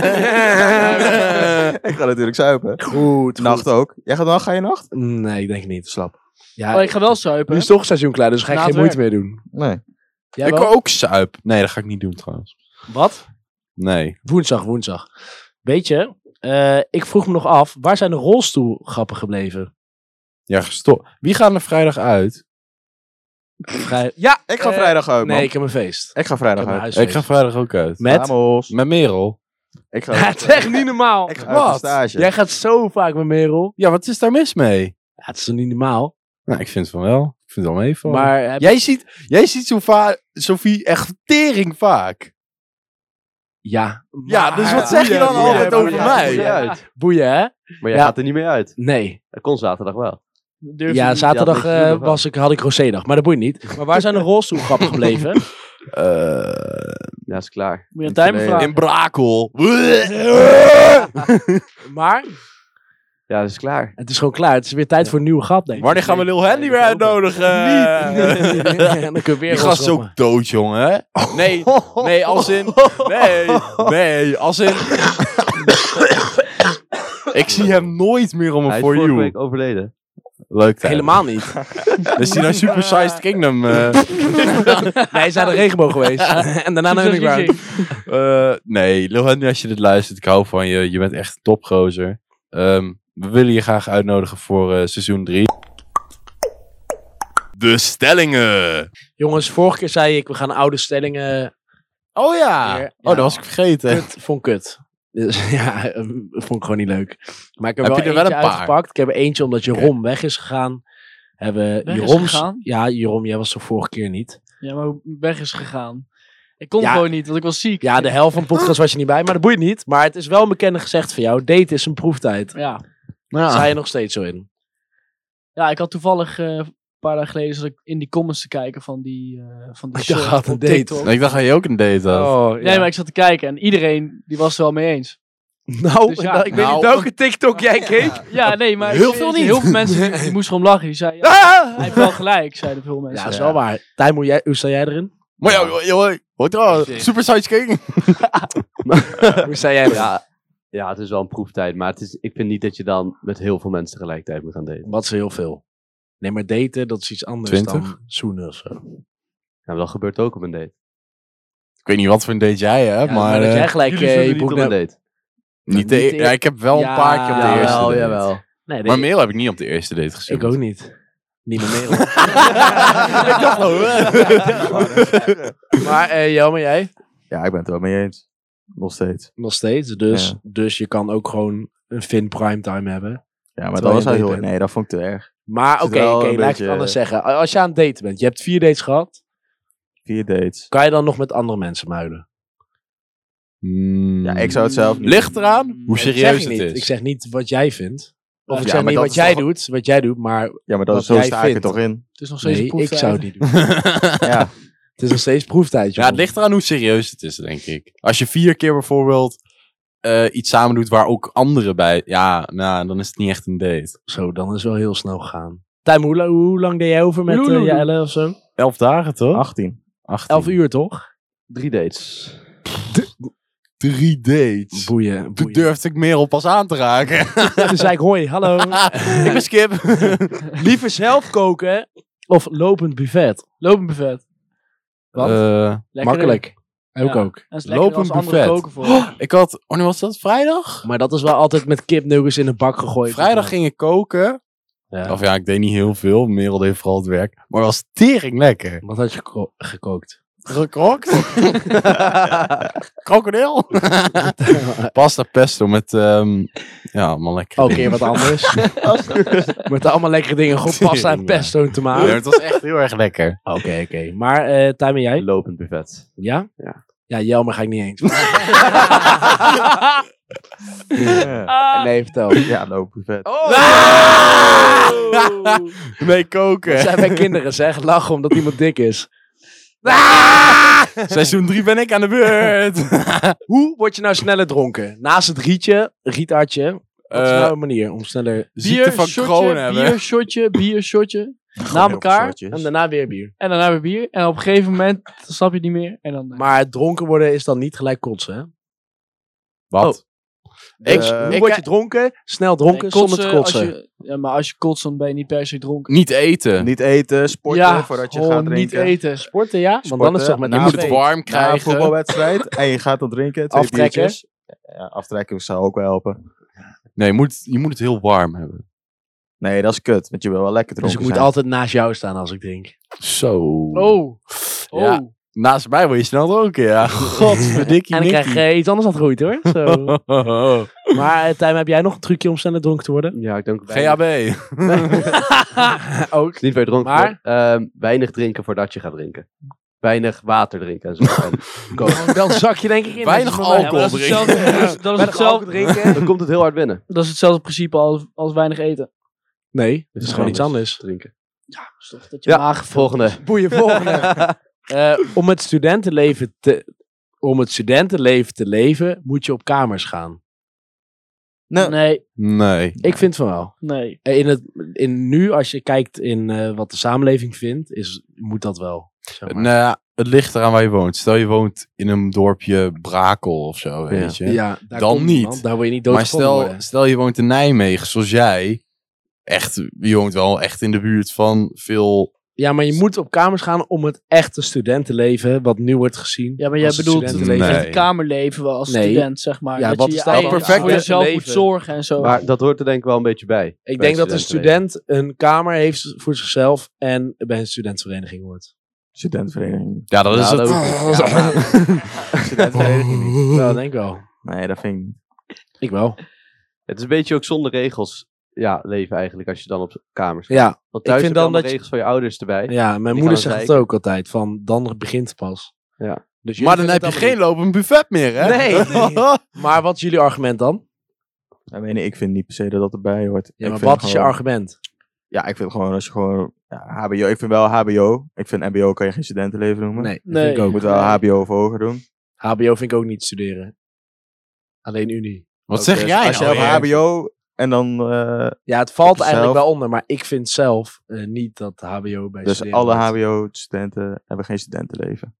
Speaker 1: Nee.
Speaker 4: ik ga natuurlijk zuipen.
Speaker 3: Goed,
Speaker 4: Nacht ook. Jij gaat dan, ga je nacht?
Speaker 3: Nee, ik denk niet. Slap. Ja,
Speaker 6: Maar Oh, ik ga wel
Speaker 3: nu
Speaker 6: zuipen.
Speaker 3: is toch seizoen klaar, dus ga ik
Speaker 6: Na
Speaker 3: geen
Speaker 6: het
Speaker 3: moeite meer doen.
Speaker 4: Nee.
Speaker 3: Jij
Speaker 1: ik
Speaker 3: wel?
Speaker 1: ook suip. Nee, dat ga ik niet doen trouwens.
Speaker 3: Wat?
Speaker 1: Nee.
Speaker 3: Woensdag, woensdag. Weet je, eh, ik vroeg me nog af, waar zijn de rolstoelgrappen gebleven?
Speaker 1: Ja, gestopt. Wie gaan er vrijdag uit?
Speaker 3: Vrij... Ja!
Speaker 4: Ik ga
Speaker 3: Eh,
Speaker 4: vrijdag uit, man.
Speaker 3: Nee, ik heb een feest.
Speaker 4: Ik ga
Speaker 3: Ik
Speaker 4: vrijdag
Speaker 3: heb een
Speaker 4: uit.
Speaker 3: huisfeest.
Speaker 1: Ik ga Oh, vrijdag ook uit. Ah,
Speaker 3: Met?
Speaker 4: Vamos.
Speaker 1: Met Merel.
Speaker 4: Ik ga,
Speaker 3: Ja, het is echt niet normaal.
Speaker 4: ik ga uit op stage.
Speaker 3: Jij gaat zo vaak met Merel.
Speaker 1: Ja, wat is daar mis mee?
Speaker 3: Ja, het is toch niet normaal?
Speaker 1: Nou, ik vind het van wel. Ik vind het wel meevallen.
Speaker 3: Maar eh, heb-
Speaker 1: Jij ziet, jij ziet Sofa- Sophie echt tering vaak.
Speaker 3: ja.
Speaker 1: Ja, dus wat zeg je dan
Speaker 3: boeien,
Speaker 1: altijd
Speaker 3: boeien,
Speaker 1: over
Speaker 3: boeien,
Speaker 1: mij?
Speaker 3: boeien.
Speaker 5: Ja, uit.
Speaker 3: Boeien, hè?
Speaker 5: Maar jij
Speaker 3: Ja.
Speaker 5: gaat er niet meer uit.
Speaker 3: Nee.
Speaker 5: Dat kon zaterdag wel.
Speaker 6: Durf je
Speaker 3: Ja,
Speaker 6: niet.
Speaker 3: zaterdag
Speaker 5: niks te doen,
Speaker 3: eh,
Speaker 5: of wat?
Speaker 3: was ik, had ik rosé-dag, maar dat boeit niet. Maar waar zijn de rolstoelgrappen gebleven?
Speaker 1: Eh,
Speaker 5: Ja, is klaar.
Speaker 6: Moet je een timer vragen.
Speaker 1: in Brakel.
Speaker 3: Maar
Speaker 5: Ja, is klaar.
Speaker 3: het is gewoon klaar. Het is weer tijd voor een nieuwe grap, denk ik.
Speaker 1: Wanneer gaan we Lil Handy weer uitnodigen?
Speaker 3: En dan kun je weer
Speaker 1: Die gast is
Speaker 3: rolstoel-
Speaker 1: ook dood, jongen. Nee, nee, als in... Nee, nee, als in... Ik zie hem nooit meer om
Speaker 5: Hij
Speaker 1: een
Speaker 5: is
Speaker 1: For
Speaker 5: vorige
Speaker 1: You.
Speaker 5: week overleden.
Speaker 1: Leuk,
Speaker 3: Helemaal niet.
Speaker 1: Is hij naar Super Sized Kingdom? eh,
Speaker 3: Nee, hij is naar de regenboog geweest. en daarna naar
Speaker 6: Succes,
Speaker 3: Underground.
Speaker 6: Riesing.
Speaker 1: Eh, nee, Lil Henry, als je dit luistert, ik hou van je. Je bent echt een topgozer. Ehm, we willen je graag uitnodigen voor eh, seizoen 3. De stellingen.
Speaker 3: Jongens, vorige keer zei ik, we gaan oude stellingen...
Speaker 1: Oh ja.
Speaker 3: Weer.
Speaker 1: Oh, dat was ik vergeten.
Speaker 3: Kut, vond ik kut. Dus, ja, eh, vond ik gewoon niet leuk. Maar ik heb,
Speaker 1: Heb
Speaker 3: wel
Speaker 1: je er
Speaker 3: eentje
Speaker 1: wel een paar?
Speaker 3: uitgepakt. Ik heb er eentje omdat Jeroen weg is gegaan. Hebben
Speaker 6: Weg is
Speaker 3: Jeroms...
Speaker 6: gegaan?
Speaker 3: Ja, Jeroen, jij was de vorige keer niet.
Speaker 6: Ja, maar weg is gegaan. Ik kon
Speaker 3: Ja.
Speaker 6: gewoon niet, want ik was ziek.
Speaker 3: Ja, de helft van de podcast was je niet bij, maar dat boeit niet. Maar het is wel een bekende gezegd van jou. Date is een proeftijd.
Speaker 6: Ja.
Speaker 1: Ja.
Speaker 3: Sta je nog steeds zo in?
Speaker 6: Ja, ik had toevallig eh, een paar dagen geleden zat ik in die comments te kijken van die eh van die
Speaker 3: Ik dacht,
Speaker 6: short
Speaker 3: had een
Speaker 6: op
Speaker 3: date.
Speaker 6: TikTok.
Speaker 1: Ik dacht dat je ook een date had.
Speaker 3: Oh,
Speaker 6: Nee, maar ik zat te kijken en iedereen die was er wel mee eens.
Speaker 3: Nou,
Speaker 6: Dus ja.
Speaker 3: nou, ik weet
Speaker 1: Nou,
Speaker 3: niet welke TikTok jij keek.
Speaker 6: Ja, nee, maar
Speaker 1: Heel veel niet.
Speaker 6: heel veel mensen die, die moesten gewoon lachen. Die zeiden, ja,
Speaker 3: Ah!
Speaker 6: hij heeft wel gelijk, zeiden veel mensen.
Speaker 3: Ja, dat is wel waar. Tijn, hoe jij- hoe sta jij erin?
Speaker 1: Maar joh, joh, hoor trouwens. Super sidekick.
Speaker 3: Hoe sta jij erin?
Speaker 7: Ja, ja, het is wel een proeftijd, maar het is, ik vind niet dat je dan met heel veel mensen tegelijkertijd moet gaan daten.
Speaker 3: Wat is heel veel? Nee, maar daten, dat is iets anders
Speaker 1: 20?
Speaker 3: dan zoenen of zo.
Speaker 7: Nou, dat gebeurt ook op een date.
Speaker 1: Ik weet niet wat voor een date jij hebt,
Speaker 3: Ja,
Speaker 1: maar...
Speaker 3: dat
Speaker 1: eh,
Speaker 3: jij gelijk
Speaker 7: Jullie
Speaker 3: eh,
Speaker 7: zullen
Speaker 3: je
Speaker 7: niet op
Speaker 3: broek
Speaker 7: een
Speaker 3: naar-
Speaker 7: date.
Speaker 1: niet de, e-
Speaker 3: niet de-
Speaker 1: ja, ik heb wel
Speaker 3: Ja,
Speaker 1: een paar keer op de
Speaker 3: jawel,
Speaker 1: eerste date.
Speaker 3: Nee, nee,
Speaker 1: Maar Merel heb ik niet op de eerste date gezien.
Speaker 3: ik ook niet. Niet meer Merel.
Speaker 1: ik dacht al,
Speaker 3: maar eh Jelme, jij?
Speaker 4: Ja, ik ben het er wel mee eens. Nog steeds.
Speaker 3: Nog steeds. Dus,
Speaker 4: Ja.
Speaker 3: dus je kan ook gewoon een fin primetime hebben.
Speaker 4: Ja, maar
Speaker 3: Terwijl
Speaker 4: dat was
Speaker 3: je
Speaker 4: al
Speaker 3: een
Speaker 4: heel...
Speaker 3: date bent.
Speaker 4: Nee, dat vond ik te erg.
Speaker 3: Maar oké,
Speaker 4: Zit wel
Speaker 3: oké,
Speaker 4: een
Speaker 3: laat ik het
Speaker 4: beetje-
Speaker 3: anders zeggen. A- Als je aan het daten bent, je hebt vier dates gehad,
Speaker 4: Vier dates.
Speaker 3: kan je dan nog met andere mensen muilen?
Speaker 4: Ja, ik zou
Speaker 6: Mm.
Speaker 4: het zelf niet...
Speaker 1: Hmm. Ligt eraan hoe
Speaker 3: Ik zeg
Speaker 1: serieus het
Speaker 3: niet,
Speaker 1: is.
Speaker 3: Ik zeg niet wat jij vindt. Of
Speaker 4: Ja,
Speaker 3: ik zeg
Speaker 4: maar
Speaker 3: niet
Speaker 4: dat
Speaker 3: wat
Speaker 4: is
Speaker 3: jij,
Speaker 4: toch-
Speaker 3: doet, wat jij doet, maar
Speaker 4: Ja, maar dat
Speaker 3: Wat
Speaker 4: is zo
Speaker 3: jij
Speaker 4: sta ik er
Speaker 3: vindt.
Speaker 4: toch in.
Speaker 6: Het is nog steeds
Speaker 3: nee,
Speaker 6: een
Speaker 3: ik zou het
Speaker 6: proeftijd.
Speaker 3: niet doen.
Speaker 4: Ja.
Speaker 3: Het is nog steeds proeftijd,
Speaker 1: ja, het
Speaker 3: jongen.
Speaker 1: ligt eraan hoe serieus het is, denk ik. Als je vier keer bijvoorbeeld eh, iets samen doet waar ook anderen bij... Ja, nou, dan is het niet echt een date.
Speaker 3: Zo, dan is wel heel snel gegaan. Tim, hoe, la- hoe lang deed jij over met
Speaker 6: Loeloe.
Speaker 3: eh, Jelle of zo?
Speaker 1: Elf dagen, toch?
Speaker 4: 18.
Speaker 3: 11 uur, toch?
Speaker 7: Drie dates.
Speaker 1: Drie dates.
Speaker 3: Boeien.
Speaker 1: Toen
Speaker 3: boeien.
Speaker 1: durfde ik Merel pas aan te raken.
Speaker 3: Toen zei ik, hoi, hallo.
Speaker 1: ik ben Skip.
Speaker 3: Liever zelf koken of lopend buffet?
Speaker 6: Lopend buffet.
Speaker 3: Wat?
Speaker 1: Eh,
Speaker 6: Lekkerder.
Speaker 3: Makkelijk. Ook
Speaker 6: Ja.
Speaker 3: ook.
Speaker 6: En het is lekkerder
Speaker 1: Lopend
Speaker 6: als anderen
Speaker 1: buffet. Oh,
Speaker 6: koken voor. je.
Speaker 1: ik had... Wanneer was dat? Vrijdag?
Speaker 3: Maar dat is wel altijd met kipnuggets in de bak gegooid.
Speaker 1: Vrijdag ging ik koken.
Speaker 3: Ja.
Speaker 1: Of ja, ik deed niet heel veel. Merel deed vooral het werk. Maar het was tering lekker.
Speaker 3: Wat had je geko- gekookt?
Speaker 1: Gekookt. Krokodil. Pasta pesto met... ehm, ja, allemaal lekker.
Speaker 3: Ook keer wat anders. met allemaal lekkere dingen. Gewoon pasta en
Speaker 1: Ja.
Speaker 3: pesto en
Speaker 1: Ja,
Speaker 3: tomaten.
Speaker 1: het was echt heel erg lekker.
Speaker 3: Oké, oké. Maar eh Tim en jij?
Speaker 7: Lopend buffet.
Speaker 3: Ja?
Speaker 7: Ja.
Speaker 3: Ja, Jelmer ga ik niet eens.
Speaker 4: Ja,
Speaker 3: Nee, vertel.
Speaker 4: ja no buffet.
Speaker 3: Oh.
Speaker 1: Nee, koken.
Speaker 3: Dat zijn wij kinderen, zeg. Lachen omdat iemand dik is.
Speaker 1: Seizoen 3 ben ik aan de beurt. Eh,
Speaker 3: Hoe word je nou sneller dronken? Naast het rietje, rietartje. Wat is
Speaker 1: Eh,
Speaker 3: nou een manier om sneller...
Speaker 1: ziekte van Crohn hebben.
Speaker 6: bier, shotje, bier, shotje. Na
Speaker 4: heel veel
Speaker 6: elkaar.
Speaker 4: shotjes.
Speaker 3: En daarna weer bier.
Speaker 6: En daarna weer bier. En op een gegeven moment dan snap je het niet meer. En dan, eh,
Speaker 3: Maar het dronken worden is dan niet gelijk kotsen, hè? Dus
Speaker 1: Wat? ik,
Speaker 4: Eh,
Speaker 3: Hoe
Speaker 1: ik-
Speaker 3: word je dronken? Snel dronken
Speaker 6: nee,
Speaker 3: zonder te
Speaker 6: als
Speaker 3: kotsen.
Speaker 6: je- ja, maar als je kotst, dan ben je niet per se dronken.
Speaker 1: niet eten.
Speaker 4: Niet eten, sporten
Speaker 6: ja,
Speaker 4: voordat je
Speaker 6: gewoon
Speaker 4: gaat
Speaker 6: niet
Speaker 4: drinken.
Speaker 6: eten.
Speaker 3: Sporten, ja? Want dan is het toch met
Speaker 1: je moet het
Speaker 3: twee.
Speaker 1: warm
Speaker 4: Na een
Speaker 1: krijgen.
Speaker 4: voetbalwedstrijd en je gaat dan drinken. Twee
Speaker 3: Aftrekken.
Speaker 4: biertjes. Ja, aftrekken zou ook wel helpen.
Speaker 1: nee, je moet, je moet het heel warm hebben.
Speaker 4: Nee, dat is kut, want je wil wel lekker
Speaker 3: Dus
Speaker 4: dronken
Speaker 3: ik moet
Speaker 4: zijn.
Speaker 3: altijd naast jou staan als ik drink.
Speaker 1: Zo.
Speaker 6: Oh. Oh.
Speaker 1: Ja. Naast mij word je snel dronken, ja. Godverdikkie
Speaker 3: En ik krijg eh, iets anders aan het groeit, hoor. Zo.
Speaker 1: Nikkie.
Speaker 3: maar eh, Tim, heb jij nog een trucje om sneller dronken te worden?
Speaker 7: Ja, ik denk weinig,
Speaker 1: GHB.
Speaker 3: Ook.
Speaker 7: niet bij dronken.
Speaker 3: Maar?
Speaker 7: Maar? weinig drinken voordat je gaat drinken. Weinig water drinken en zo. En
Speaker 3: Dan zak je denk ik in.
Speaker 1: Weinig
Speaker 3: Dat is normaal.
Speaker 6: Ja, maar dat is
Speaker 1: Alcohol
Speaker 6: hetzelfde, dat is- dat is
Speaker 3: Weinig alcohol
Speaker 6: hetzelfde,
Speaker 3: drinken.
Speaker 7: dan komt het heel hard binnen.
Speaker 6: dat is hetzelfde principe als, als weinig eten.
Speaker 3: Nee, dat is gewoon iets anders.
Speaker 7: Drinken.
Speaker 6: Dus toch dat je
Speaker 7: Ja,
Speaker 6: maag vol-
Speaker 7: volgende.
Speaker 3: Boeien, volgende. Eh, om het studentenleven te... Om het studentenleven te leven, moet je op kamers gaan.
Speaker 6: Nee,
Speaker 1: Nee.
Speaker 3: Ik vind van wel.
Speaker 6: nee.
Speaker 3: Eh, In het, in nu, als je kijkt in eh, wat de samenleving vindt, is, moet dat wel. zeg maar.
Speaker 1: Nou, ja, het ligt eraan waar je woont. Stel je woont in een dorpje Brakel of zo, weet je.
Speaker 3: Ja, daar
Speaker 1: Dan
Speaker 3: komt niemand.
Speaker 1: niet.
Speaker 3: Daar word je niet
Speaker 1: maar
Speaker 3: doodgevonden
Speaker 1: stel, stel je woont in Nijmegen, zoals jij. Echt, je woont wel echt in de buurt van veel...
Speaker 3: Ja, maar je moet op kamers gaan om het echte studentenleven, wat nu wordt gezien.
Speaker 6: Ja, maar jij
Speaker 3: als het
Speaker 6: bedoelt
Speaker 3: studentenleven.
Speaker 1: Nee.
Speaker 6: echt het kamerleven wel als
Speaker 3: Nee.
Speaker 6: student, zeg maar.
Speaker 3: Ja,
Speaker 6: dat
Speaker 3: wat
Speaker 6: je
Speaker 3: is
Speaker 6: je
Speaker 3: dat
Speaker 6: eigen
Speaker 1: dan? Perfect
Speaker 6: voor jezelf
Speaker 3: leven.
Speaker 6: moet zorgen en zo.
Speaker 7: Maar dat hoort er denk ik wel een beetje bij.
Speaker 3: Ik
Speaker 7: Bij
Speaker 3: denk dat een
Speaker 7: studentenleven.
Speaker 3: student een kamer heeft voor zichzelf en bij een studentenvereniging hoort.
Speaker 4: Studentenvereniging.
Speaker 1: Ja, dat is
Speaker 7: Ja,
Speaker 1: het.
Speaker 7: dat-
Speaker 1: Ja, maar-
Speaker 4: Studentenvereniging niet.
Speaker 3: Ja, dat denk ik wel.
Speaker 4: Nee, dat vind ik niet.
Speaker 3: Ik wel.
Speaker 7: Het is een beetje ook zonder regels ja, leven eigenlijk als je dan op kamers gaat.
Speaker 3: Ja,
Speaker 7: Want thuis
Speaker 3: ik
Speaker 7: ik
Speaker 3: vind
Speaker 7: vind
Speaker 3: dan
Speaker 7: allemaal
Speaker 3: dat je-
Speaker 7: regels van je ouders erbij.
Speaker 3: ja mijn
Speaker 7: Die
Speaker 3: moeder
Speaker 7: gaan
Speaker 3: zegt het
Speaker 7: zeiken.
Speaker 3: ook altijd, van dan begint het pas.
Speaker 7: Ja.
Speaker 3: Dus
Speaker 1: maar dan
Speaker 3: jullie
Speaker 1: heb je
Speaker 3: vinden
Speaker 1: geen
Speaker 3: het
Speaker 1: lopend buffet meer, hè?
Speaker 3: allemaal niet. Nee. maar wat is jullie argument dan?
Speaker 4: Ik, weet niet, ik vind niet per se dat dat erbij hoort.
Speaker 3: Ja,
Speaker 4: Ik
Speaker 3: maar
Speaker 4: vind
Speaker 3: wat is je
Speaker 4: gewoon-
Speaker 3: argument?
Speaker 4: Ja, ik vind gewoon als je gewoon... Ja, HBO, ik vind wel HBO. Ik vind mbo kan je geen studentenleven noemen.
Speaker 3: Nee, dat
Speaker 6: Nee.
Speaker 3: vind ik
Speaker 4: Je
Speaker 3: ook.
Speaker 4: moet wel hbo of hoger doen.
Speaker 3: HBO vind ik ook niet studeren. Alleen Unie.
Speaker 1: Wat
Speaker 4: Ook,
Speaker 1: zeg
Speaker 4: eh,
Speaker 1: jij
Speaker 4: Als jij
Speaker 1: nou
Speaker 4: op
Speaker 1: weer?
Speaker 4: HBO en dan... eh,
Speaker 3: Ja, het valt
Speaker 4: Op
Speaker 3: eigenlijk
Speaker 4: zelf.
Speaker 3: wel onder, maar ik vind zelf eh, niet dat HBO bij
Speaker 4: dus
Speaker 3: studeren
Speaker 4: alle
Speaker 3: hoort.
Speaker 4: HBO-studenten hebben geen studentenleven.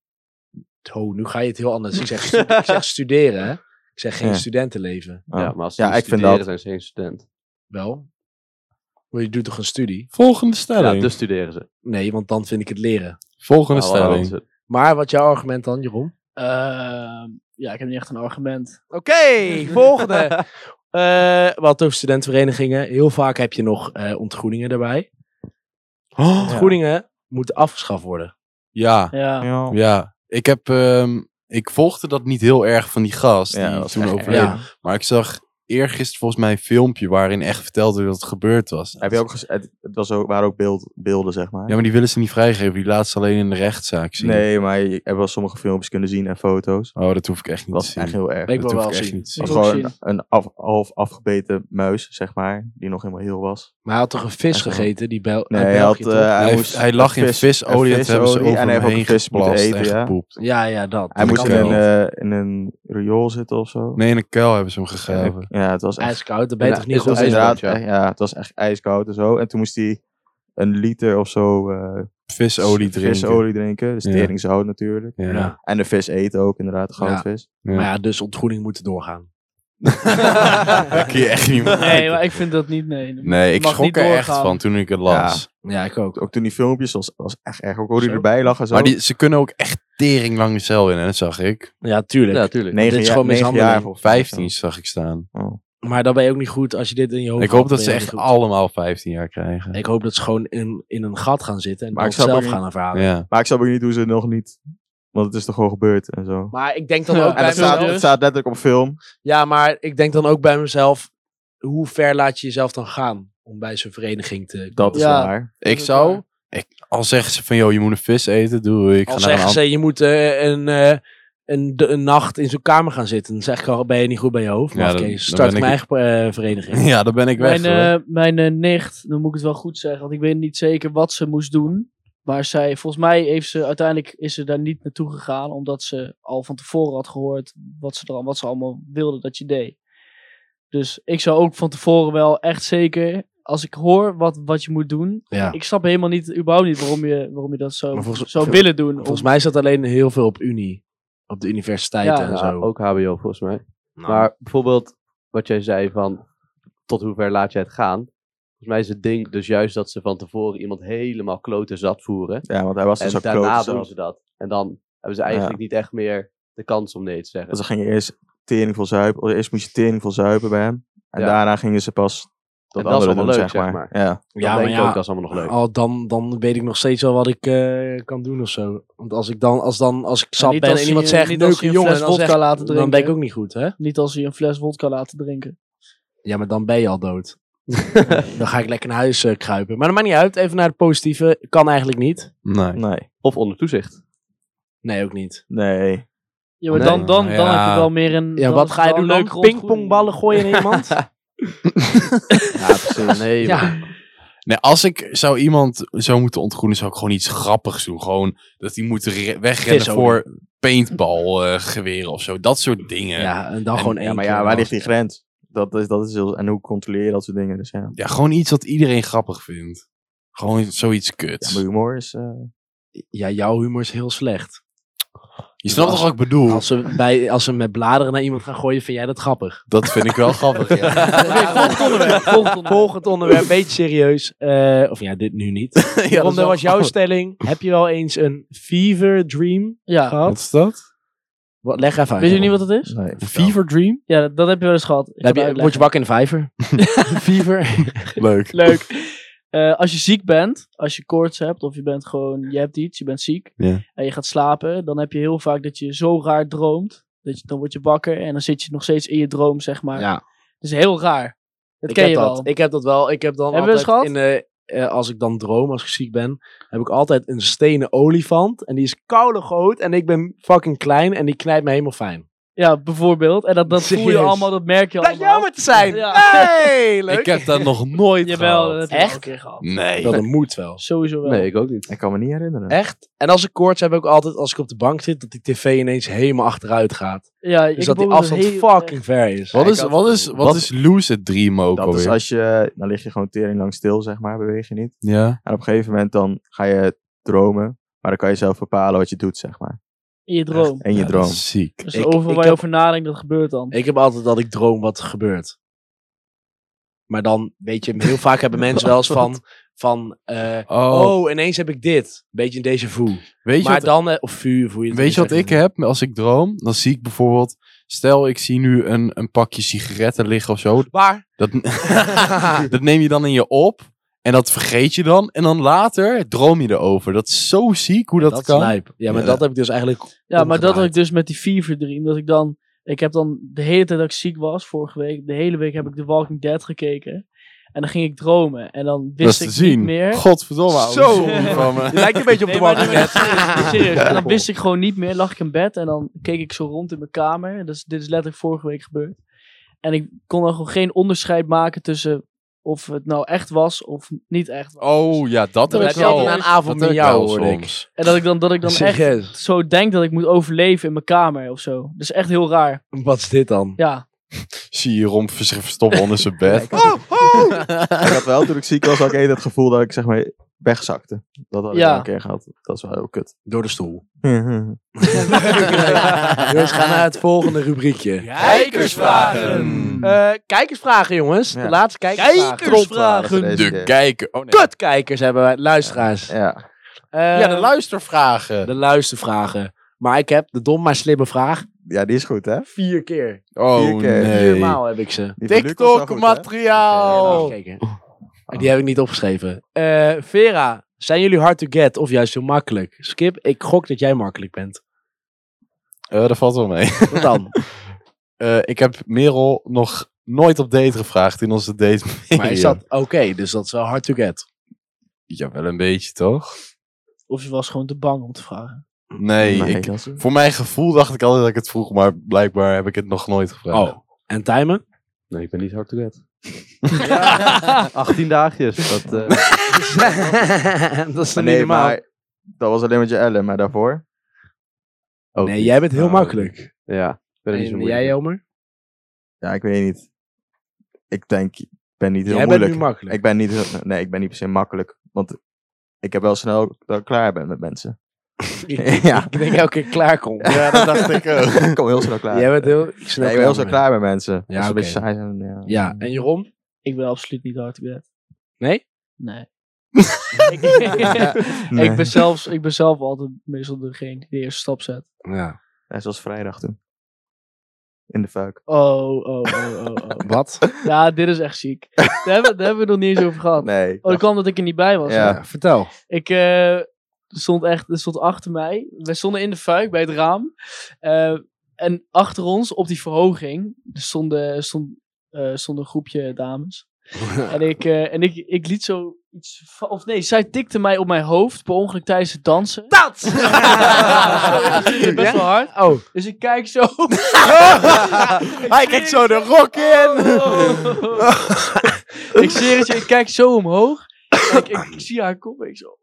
Speaker 3: Oh, nu ga je het heel anders. Ik zeg, stu- ik zeg studeren, hè. Ik zeg geen
Speaker 4: Ja.
Speaker 3: studentenleven.
Speaker 4: Oh.
Speaker 7: Ja, maar als ze
Speaker 4: Ja,
Speaker 7: niet
Speaker 4: ik vind
Speaker 7: studeren,
Speaker 4: dat.
Speaker 7: zijn ze geen student.
Speaker 3: Wel. Maar je doet toch een studie?
Speaker 1: Volgende
Speaker 7: Ja,
Speaker 1: stelling.
Speaker 7: dus studeren ze.
Speaker 3: Nee, want dan vind ik het leren.
Speaker 1: Volgende
Speaker 7: Nou, wel,
Speaker 1: stelling.
Speaker 7: ze-
Speaker 3: Maar wat jouw argument dan, Jeroen?
Speaker 6: Ehm, ja, ik heb niet echt een argument.
Speaker 3: Oké, volgende. Eh, wat over studentenverenigingen. Heel vaak heb je nog eh, ontgroeningen daarbij. Ontgroeningen moeten afgeschaft worden.
Speaker 1: Ja,
Speaker 6: Ja.
Speaker 4: Ja.
Speaker 1: ja. Ik heb... ehm, ik volgde dat niet heel erg van die gast
Speaker 4: Ja, dat
Speaker 1: die
Speaker 4: was
Speaker 1: toen
Speaker 4: echt
Speaker 1: overleed.
Speaker 3: Ja.
Speaker 1: Maar ik zag eergisteren volgens mij een filmpje waarin echt verteld werd dat het gebeurd was.
Speaker 4: Heb je ook gez- het, het was ook, waren ook beeld, beelden, zeg maar.
Speaker 1: Ja, maar die willen ze niet vrijgeven. Die laten ze alleen in de rechtszaak zien.
Speaker 4: nee, maar je hebt wel sommige filmpjes kunnen zien en foto's.
Speaker 1: Oh, dat hoef ik echt niet te
Speaker 4: Dat was
Speaker 1: zien.
Speaker 4: echt heel erg.
Speaker 3: Ik
Speaker 1: dat
Speaker 3: wil
Speaker 1: hoef ik
Speaker 3: wel
Speaker 1: echt
Speaker 3: zien.
Speaker 1: niet te zien.
Speaker 4: Het
Speaker 6: Ik
Speaker 4: was
Speaker 6: wil
Speaker 4: gewoon
Speaker 6: ook
Speaker 4: een af, half afgebeten muis, zeg maar. Die nog helemaal heel was.
Speaker 3: Maar hij had toch een vis
Speaker 4: Echt wel.
Speaker 3: gegeten? Die Bel
Speaker 4: Nee,
Speaker 3: uit
Speaker 4: hij,
Speaker 3: België,
Speaker 4: had, eh,
Speaker 1: Hij,
Speaker 4: hij,
Speaker 1: heeft-
Speaker 4: moest
Speaker 1: hij lag in
Speaker 4: vis-
Speaker 1: visolie en
Speaker 4: vis-
Speaker 1: toen hebben ze
Speaker 4: olie
Speaker 1: over
Speaker 4: en hij
Speaker 1: hem
Speaker 4: heeft ook
Speaker 1: heen
Speaker 4: vis moeten
Speaker 1: geplast en
Speaker 4: eten, ja.
Speaker 1: gepoept.
Speaker 3: toch? ja, ja, dat.
Speaker 4: hij
Speaker 3: Dat
Speaker 4: moest in
Speaker 3: kan
Speaker 4: een,
Speaker 3: wel.
Speaker 4: eh, in een riool zitten of zo.
Speaker 1: Nee, in een kuil hebben ze hem gegraven.
Speaker 4: Ja, het was echt
Speaker 3: ijskoud, dan ben je
Speaker 7: Ja,
Speaker 3: toch niet
Speaker 7: is wel
Speaker 4: Het
Speaker 3: goed
Speaker 4: was
Speaker 7: ijs-
Speaker 3: in?
Speaker 4: inderdaad,
Speaker 7: ja.
Speaker 4: echt- ja, het was echt ijskoud en zo. En toen moest hij een liter of zo eh,
Speaker 1: Visolie drinken.
Speaker 4: visolie drinken. Dus
Speaker 1: Ja.
Speaker 4: teringzout natuurlijk.
Speaker 1: Ja.
Speaker 3: Ja.
Speaker 4: En de vis eten ook, inderdaad, goudvis.
Speaker 1: Ja.
Speaker 3: Maar ja, dus ontgroening moet doorgaan.
Speaker 1: Dat kun je echt niet meer
Speaker 6: Nee,
Speaker 1: maken.
Speaker 6: maar ik vind dat niet. Nee,
Speaker 1: Nee, ik
Speaker 6: Mag
Speaker 1: schrok
Speaker 6: niet
Speaker 1: er echt
Speaker 6: doorgaan.
Speaker 1: van toen ik het las.
Speaker 3: Ja, ik ook.
Speaker 4: Ook toen die filmpjes, was, was echt erg. Ook hoe die
Speaker 3: Zo.
Speaker 4: erbij lag en zo.
Speaker 1: Maar die, ze kunnen ook echt tering lang de cel in, hè, dat zag ik.
Speaker 3: Ja, tuurlijk.
Speaker 7: Ja, tuurlijk.
Speaker 4: negen
Speaker 3: dit is
Speaker 4: jaar-
Speaker 3: gewoon
Speaker 4: negen
Speaker 3: mishandeling.
Speaker 4: jaar volgens mij.
Speaker 1: 15 zag ik staan.
Speaker 3: Maar dan ben je ook niet goed als je dit in je hoofd
Speaker 1: Ik hoop
Speaker 3: houdt,
Speaker 1: dat
Speaker 3: ben
Speaker 1: ze
Speaker 3: je ook
Speaker 1: echt
Speaker 3: niet goed.
Speaker 1: allemaal 15 jaar krijgen.
Speaker 3: Ik hoop dat ze gewoon in, in een gat gaan zitten en
Speaker 4: Maar
Speaker 3: dan
Speaker 4: ik snap
Speaker 3: zelf
Speaker 4: ook
Speaker 3: gaan ervaren.
Speaker 1: Ja.
Speaker 4: Maar ik snap ook niet hoe ze nog niet... Want het is toch gewoon gebeurd en zo.
Speaker 3: Maar dus? ik denk dan
Speaker 6: Ja,
Speaker 3: ook
Speaker 6: en
Speaker 4: En
Speaker 3: bij
Speaker 4: het staat,
Speaker 3: mezelf.
Speaker 4: het staat letterlijk op film.
Speaker 3: Ja, maar ik denk dan ook bij mezelf. Hoe ver laat je jezelf dan gaan om bij zo'n vereniging te.
Speaker 4: Dat is
Speaker 6: Ja.
Speaker 4: wel waar.
Speaker 1: Ik zou, ik, al zeggen ze van, joh, je moet een vis eten, doe ik. Ga
Speaker 3: Al
Speaker 1: naar een
Speaker 3: zeggen
Speaker 1: ander-
Speaker 3: ze, je moet eh, een, eh, een, de- een nacht in zo'n kamer gaan zitten. Dan zeg ik al, ben je niet goed bij je hoofd?
Speaker 1: Ja,
Speaker 3: Maar
Speaker 1: dan-
Speaker 3: oké,
Speaker 1: dan
Speaker 3: start
Speaker 1: ben
Speaker 3: mijn eigen eh, vereniging.
Speaker 1: Ja, dan ben ik weg.
Speaker 6: Mijn,
Speaker 1: hoor.
Speaker 6: eh, mijn eh, nicht, dan moet ik het wel goed zeggen, want ik weet niet zeker wat ze moest doen. Maar zij, volgens mij heeft ze, uiteindelijk is ze daar niet naartoe gegaan, omdat ze al van tevoren had gehoord wat ze, er, al- wat ze allemaal wilde dat je deed. Dus ik zou ook van tevoren wel echt zeker, als ik hoor wat, wat je moet doen,
Speaker 3: Ja.
Speaker 6: ik snap helemaal niet, überhaupt niet waarom je, waarom je dat zo
Speaker 3: Maar volgens-
Speaker 6: zou
Speaker 3: vol-
Speaker 6: willen doen.
Speaker 3: Volgens mij is dat alleen heel veel op Unie. Op de universiteiten
Speaker 6: Ja,
Speaker 3: en
Speaker 7: Ja,
Speaker 3: zo. Nou.
Speaker 7: ook HBO volgens mij. Maar bijvoorbeeld wat jij zei van tot hoever laat jij het gaan. Volgens mij is het ding dus juist dat ze van tevoren iemand helemaal kloten zat voeren.
Speaker 4: Ja, want hij was dus
Speaker 7: en
Speaker 4: ook
Speaker 7: daarna
Speaker 4: kloot.
Speaker 7: doen
Speaker 4: zo.
Speaker 7: ze dat. En dan hebben ze eigenlijk niet echt meer de kans om nee te zeggen.
Speaker 4: Want ze gingen eerst tering vol zuipen. of Eerst moest je tering vol zuipen bij hem. En
Speaker 7: Ja.
Speaker 4: daarna gingen ze pas dat
Speaker 7: En dat is
Speaker 4: andere
Speaker 7: allemaal
Speaker 4: doen,
Speaker 7: leuk,
Speaker 4: zeg
Speaker 7: zeg
Speaker 4: maar.
Speaker 7: maar.
Speaker 4: Ja.
Speaker 7: Dan
Speaker 3: Ja,
Speaker 7: denk
Speaker 3: maar
Speaker 7: ik
Speaker 3: ja,
Speaker 7: ook, dat is allemaal nog leuk.
Speaker 3: Al dan, dan weet ik nog steeds wel wat ik eh, kan doen of zo. Want als ik dan, als, dan, als ik zat
Speaker 6: niet
Speaker 3: ben
Speaker 6: als
Speaker 3: en
Speaker 6: je-
Speaker 3: iemand zegt,
Speaker 6: niet als
Speaker 3: leuke
Speaker 6: je een
Speaker 3: jongen,
Speaker 6: fles
Speaker 3: dan, zeg,
Speaker 6: wodka laten
Speaker 3: dan ben ik
Speaker 6: drinken.
Speaker 3: ook niet goed, hè?
Speaker 6: Niet als je een fles wodka laten drinken.
Speaker 3: Ja, maar dan ben je al dood. dan ga ik lekker naar huis eh, kruipen. Maar dat maakt niet uit. Even naar het positieve. Kan eigenlijk niet.
Speaker 1: nee.
Speaker 4: Nee.
Speaker 7: Of onder toezicht.
Speaker 3: Nee, ook niet.
Speaker 4: Nee.
Speaker 6: Ja, maar
Speaker 4: Nee.
Speaker 6: dan, dan, dan
Speaker 1: Ja.
Speaker 6: heb je wel meer een...
Speaker 3: Ja,
Speaker 6: dan
Speaker 3: wat
Speaker 6: is
Speaker 3: ga je
Speaker 6: wel
Speaker 3: doen
Speaker 6: een
Speaker 3: dan?
Speaker 6: leukere ontgroening.
Speaker 3: Pingpongballen gooien in iemand?
Speaker 7: Ja, precies. Nee,
Speaker 3: ja.
Speaker 1: Nee, als ik zou iemand zou moeten ontgroenen, zou ik gewoon iets grappigs doen. Gewoon dat die moet re- wegrennen
Speaker 3: Visolie.
Speaker 1: voor paintballgeweren of zo. Dat soort dingen. Ja.
Speaker 3: ja, en dan
Speaker 1: En-
Speaker 3: gewoon één
Speaker 4: Ja, maar
Speaker 3: keer
Speaker 4: ja, waar
Speaker 3: dan.
Speaker 4: ligt die grens? eh, Dat is, dat is heel, en hoe controleer je dat soort dingen? Dus ja.
Speaker 1: gewoon iets wat iedereen grappig vindt. Gewoon zoiets
Speaker 4: ja
Speaker 1: kuts.
Speaker 4: maar humor is... eh,
Speaker 3: Ja, jouw humor is heel slecht.
Speaker 1: je snapt toch wat ik bedoel?
Speaker 3: Als ze, bij, als ze met bladeren naar iemand gaan gooien, vind jij dat grappig?
Speaker 1: Dat vind ik wel grappig, ja.
Speaker 3: Oké, volgend onderwerp. Volgend onderwerp. beetje serieus. Eh, of ja, dit nu niet.
Speaker 1: ja
Speaker 3: Ronde, was jouw stelling. Heb je wel eens een fever dream
Speaker 6: Ja.
Speaker 3: gehad?
Speaker 1: Wat is dat?
Speaker 3: Wat, leg even uit.
Speaker 6: Weet je niet wat het is?
Speaker 4: nee.
Speaker 1: Een fever dream?
Speaker 6: Ja, dat, dat heb je wel eens gehad. Ik
Speaker 3: Dan heb
Speaker 6: ga
Speaker 3: je,
Speaker 6: het
Speaker 3: word je wakker in de vijver? fever?
Speaker 1: Leuk.
Speaker 6: uitleggen. Leuk. Eh, als je ziek bent, als je koorts hebt of je bent gewoon, je hebt iets, je bent ziek
Speaker 1: Ja.
Speaker 6: en je gaat slapen, dan heb je heel vaak dat je zo raar droomt. Dat je, dan word je wakker en dan zit je nog steeds in je droom, zeg maar.
Speaker 3: Ja,
Speaker 6: Dat is heel raar. Dat
Speaker 3: ik
Speaker 6: ken
Speaker 3: heb
Speaker 6: je
Speaker 3: dat.
Speaker 6: wel.
Speaker 3: Ik heb dat wel. Ik heb dan
Speaker 6: Hebben we
Speaker 3: altijd
Speaker 6: eens
Speaker 3: in de... eh, als ik dan droom, als ik ziek ben, heb ik altijd een stenen olifant. En die is koude groot. En ik ben fucking klein. En die knijpt me helemaal fijn.
Speaker 6: Ja, bijvoorbeeld. En dat, dat voel je
Speaker 3: Serieus?
Speaker 6: allemaal, dat merk je allemaal.
Speaker 4: Blijkt jou maar te zijn.
Speaker 6: Ja.
Speaker 4: Hey, leuk.
Speaker 1: Ik heb dat nog nooit
Speaker 6: Jawel,
Speaker 1: gehad.
Speaker 6: dat heb ik al een keer gehad.
Speaker 1: Nee.
Speaker 3: Dat moet wel.
Speaker 6: Sowieso wel.
Speaker 7: Nee, ik ook niet.
Speaker 4: Ik kan me niet herinneren.
Speaker 3: Echt? En als ik koorts heb, heb ik altijd als ik op de bank zit, dat die tv ineens helemaal achteruit gaat.
Speaker 6: Ja,
Speaker 3: Dus dat die
Speaker 6: bijvoorbeeld
Speaker 3: afstand
Speaker 6: heel-
Speaker 3: fucking ver is.
Speaker 1: Wat is,
Speaker 4: had-
Speaker 1: wat is, wat
Speaker 4: Wat-
Speaker 1: is lucid dream ook
Speaker 4: Dat is
Speaker 1: alweer?
Speaker 4: als je, dan lig je gewoon tering lang stil, zeg maar, beweeg je niet.
Speaker 1: Ja.
Speaker 4: En op een gegeven moment dan ga je dromen, maar dan kan je zelf bepalen wat je doet, zeg maar.
Speaker 6: In je droom.
Speaker 4: En je
Speaker 1: Ja, dat
Speaker 4: droom.
Speaker 1: is ziek.
Speaker 6: Dus
Speaker 3: Ik-
Speaker 6: overal
Speaker 3: ik
Speaker 6: waar je
Speaker 3: heb-
Speaker 6: over nadenkt, dat gebeurt dan.
Speaker 3: Ik heb altijd dat ik droom wat er gebeurt. Maar dan, weet je, heel vaak hebben mensen wel eens van, van eh,
Speaker 1: Oh,
Speaker 3: oh. ineens heb ik dit. Beetje een déjà vu.
Speaker 1: weet je
Speaker 3: Maar
Speaker 1: wat
Speaker 3: dan, eh, of vuur, hoe je het
Speaker 1: Weet je
Speaker 3: wil
Speaker 1: wat ik
Speaker 3: zeggen.
Speaker 1: heb als ik droom? Dan zie ik bijvoorbeeld, stel ik zie nu een, een pakje sigaretten liggen of zo.
Speaker 4: Waar?
Speaker 1: Dat, dat neem je dan in je op en dat vergeet je dan. En dan later droom je erover. Dat is zo ziek hoe dat,
Speaker 3: Dat is
Speaker 1: kan.
Speaker 3: lijp. Ja, maar
Speaker 1: Ja.
Speaker 3: dat heb ik dus eigenlijk
Speaker 6: Ja, maar dat had
Speaker 3: omgedraaid.
Speaker 6: ik dus met die fever dream. Dat ik dan... Ik heb dan de hele tijd dat ik ziek was, vorige week, de hele week heb ik The Walking Dead gekeken. En dan ging ik dromen. En dan
Speaker 1: Dat is
Speaker 6: wist
Speaker 1: te
Speaker 6: ik
Speaker 1: zien.
Speaker 6: niet meer.
Speaker 1: Godverdomme. ouwe,
Speaker 4: Zo.
Speaker 1: Oh, sorry van me.
Speaker 4: Je lijkt een beetje op de
Speaker 6: maar
Speaker 4: Walking
Speaker 6: nee, maar
Speaker 4: Dead.
Speaker 6: serieus, serieus. En dan wist ik gewoon niet meer. Lag ik in bed en dan keek ik zo rond in mijn kamer. Dus, dit is letterlijk vorige week gebeurd. En ik kon dan gewoon geen onderscheid maken tussen of het nou echt was of niet echt was.
Speaker 1: Oh ja, dat
Speaker 6: Dat
Speaker 1: heb
Speaker 6: heb
Speaker 1: ik
Speaker 6: je
Speaker 1: al.
Speaker 6: altijd
Speaker 3: na een avond
Speaker 1: dat
Speaker 3: met
Speaker 1: heb ik
Speaker 3: jou,
Speaker 1: al
Speaker 3: hoorde ik.
Speaker 1: soms.
Speaker 6: En dat ik dan, dat ik dan echt
Speaker 3: Serieus?
Speaker 6: zo denk dat ik moet overleven in mijn kamer of zo. Dat is echt heel raar.
Speaker 3: Wat is dit dan?
Speaker 6: Ja.
Speaker 1: Zie je romp zich verstoppen onder zijn bed.
Speaker 4: Ik had wel, toen ik ziek was, had ik het gevoel dat ik zeg maar wegzakte. Dat had ik
Speaker 6: Ja.
Speaker 4: wel een keer gehad. Dat is wel heel kut.
Speaker 3: Door de stoel. dus ga naar het volgende rubriekje.
Speaker 1: Kijkersvragen.
Speaker 3: Eh, kijkersvragen, jongens.
Speaker 4: Ja.
Speaker 3: De laatste kijkersvragen.
Speaker 4: Kijkersvragen. Deze
Speaker 1: De
Speaker 4: keer.
Speaker 1: kijker. Oh, nee.
Speaker 3: Kutkijkers hebben wij, luisteraars.
Speaker 4: ja.
Speaker 3: Eh,
Speaker 1: Ja, de
Speaker 6: Ehm,
Speaker 1: luistervragen.
Speaker 3: de luistervragen. Maar ik heb de dom maar slimme vraag
Speaker 4: ja, die is goed, hè?
Speaker 3: vier keer.
Speaker 1: Oh
Speaker 4: Vier keer.
Speaker 1: nee.
Speaker 3: Viermaal heb ik ze.
Speaker 4: Die van Luc was wel goed, hè?
Speaker 1: TikTok-materiaal.
Speaker 3: Gekeken. Die heb ik niet opgeschreven. Eh, Vera, zijn jullie hard to get of juist heel makkelijk? Skip, ik gok dat jij makkelijk bent.
Speaker 1: Eh, dat valt wel mee.
Speaker 3: Wat dan?
Speaker 1: Eh, ik heb Merel nog nooit op date gevraagd in onze date.
Speaker 3: maar is dat oké? dus dat is wel hard to get.
Speaker 1: Ja, wel een beetje toch?
Speaker 6: Of ze was gewoon te bang om te vragen.
Speaker 1: Nee,
Speaker 4: Nee,
Speaker 1: ik,
Speaker 4: dat is-
Speaker 1: voor mijn gevoel dacht ik altijd dat ik het vroeg, maar blijkbaar heb ik het nog nooit gevraagd.
Speaker 3: Oh. En timen?
Speaker 7: Nee, ik ben niet hard to get. 18 daagjes. Dat, eh,
Speaker 3: dat is
Speaker 4: Maar nee, maar dat was alleen met je Ellen, maar daarvoor?
Speaker 7: ook
Speaker 3: Nee,
Speaker 7: niet.
Speaker 3: jij bent heel
Speaker 7: Oh,
Speaker 3: makkelijk.
Speaker 7: Ja, ik ben er niet zo
Speaker 3: En
Speaker 7: moeilijk
Speaker 3: jij,
Speaker 7: in.
Speaker 3: Elmer?
Speaker 4: Ja, ik weet niet. Ik denk, ik ben niet heel
Speaker 3: Jij bent
Speaker 4: moeilijk.
Speaker 3: nu makkelijk.
Speaker 4: ik ben niet, heel- nee, ik ben niet per se makkelijk. Want ik heb wel snel dat ik klaar ben met mensen. ja.
Speaker 3: Ik denk elke keer klaar komt.
Speaker 1: Ja, dat dacht ik ook.
Speaker 4: ik kom heel snel klaar.
Speaker 3: Jij bent heel... Ik
Speaker 4: Nee,
Speaker 3: snap
Speaker 4: ik ben heel
Speaker 3: Elmer.
Speaker 4: snel klaar met mensen. Als ze een
Speaker 3: oké.
Speaker 4: beetje saai zijn, ja.
Speaker 3: Ja, en Jeroen?
Speaker 6: Ik ben absoluut niet hard to get.
Speaker 3: Nee?
Speaker 6: Nee. ik, ik, ben zelfs, ik ben zelf altijd meestal degene die de eerste stap zet.
Speaker 3: Ja.
Speaker 4: Ja, zoals vrijdag toen. In de fuik.
Speaker 6: Oh, oh, oh, oh, oh.
Speaker 3: Wat?
Speaker 6: Ja, dit is echt ziek. Daar hebben, daar hebben we het nog niet eens over gehad.
Speaker 4: Nee.
Speaker 6: Oh, dat kwam dat ik er niet bij was.
Speaker 4: Ja.
Speaker 3: Ja, vertel.
Speaker 6: Ik eh, stond echt, er stond achter mij. We stonden in de fuik bij het raam. Eh, en achter ons, op die verhoging, er stonden, stond, eh, stond een groepje dames. en ik, eh, en ik, ik liet zo iets. va- Of nee, zij tikte mij op mijn hoofd per ongeluk tijdens het dansen. Dat! best wel hard.
Speaker 3: Oh.
Speaker 6: Dus ik kijk zo.
Speaker 1: Hij kijkt zo de rok in.
Speaker 6: ik zie het je, ik kijk zo omhoog. En ik, ik, ik zie haar kop en ik zo.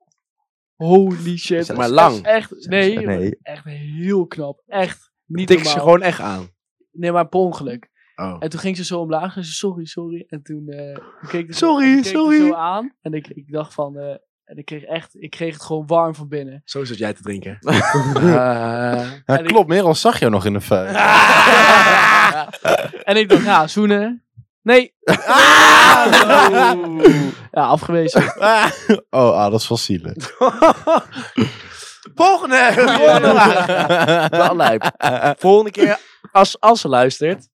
Speaker 6: Holy shit.
Speaker 3: Maar lang.
Speaker 6: Echt, nee,
Speaker 4: Nee.
Speaker 6: echt heel knap. Echt niet
Speaker 3: Tik ze
Speaker 6: normaal.
Speaker 3: gewoon echt aan.
Speaker 6: Nee, maar per ongeluk.
Speaker 3: Oh.
Speaker 6: En toen ging ze zo omlaag en ze sorry, sorry. En toen eh, ik keek ik
Speaker 3: Sorry,
Speaker 6: keek er
Speaker 3: sorry.
Speaker 6: zo aan. En ik, ik dacht van, eh, en ik kreeg echt, ik kreeg het gewoon warm van binnen.
Speaker 3: Zo zat jij te drinken.
Speaker 1: Ja,
Speaker 6: En ik-
Speaker 1: klopt, Merel zag jou nog in de fuik.
Speaker 3: Ah!
Speaker 6: En ik dacht, ja, zoenen. Nee.
Speaker 3: Ah!
Speaker 6: Ja, afgewezen.
Speaker 1: Oh, ah, dat is wel zielig.
Speaker 3: Volgende! Volgende vraag. Wel lijp. Volgende keer, als, als ze luistert.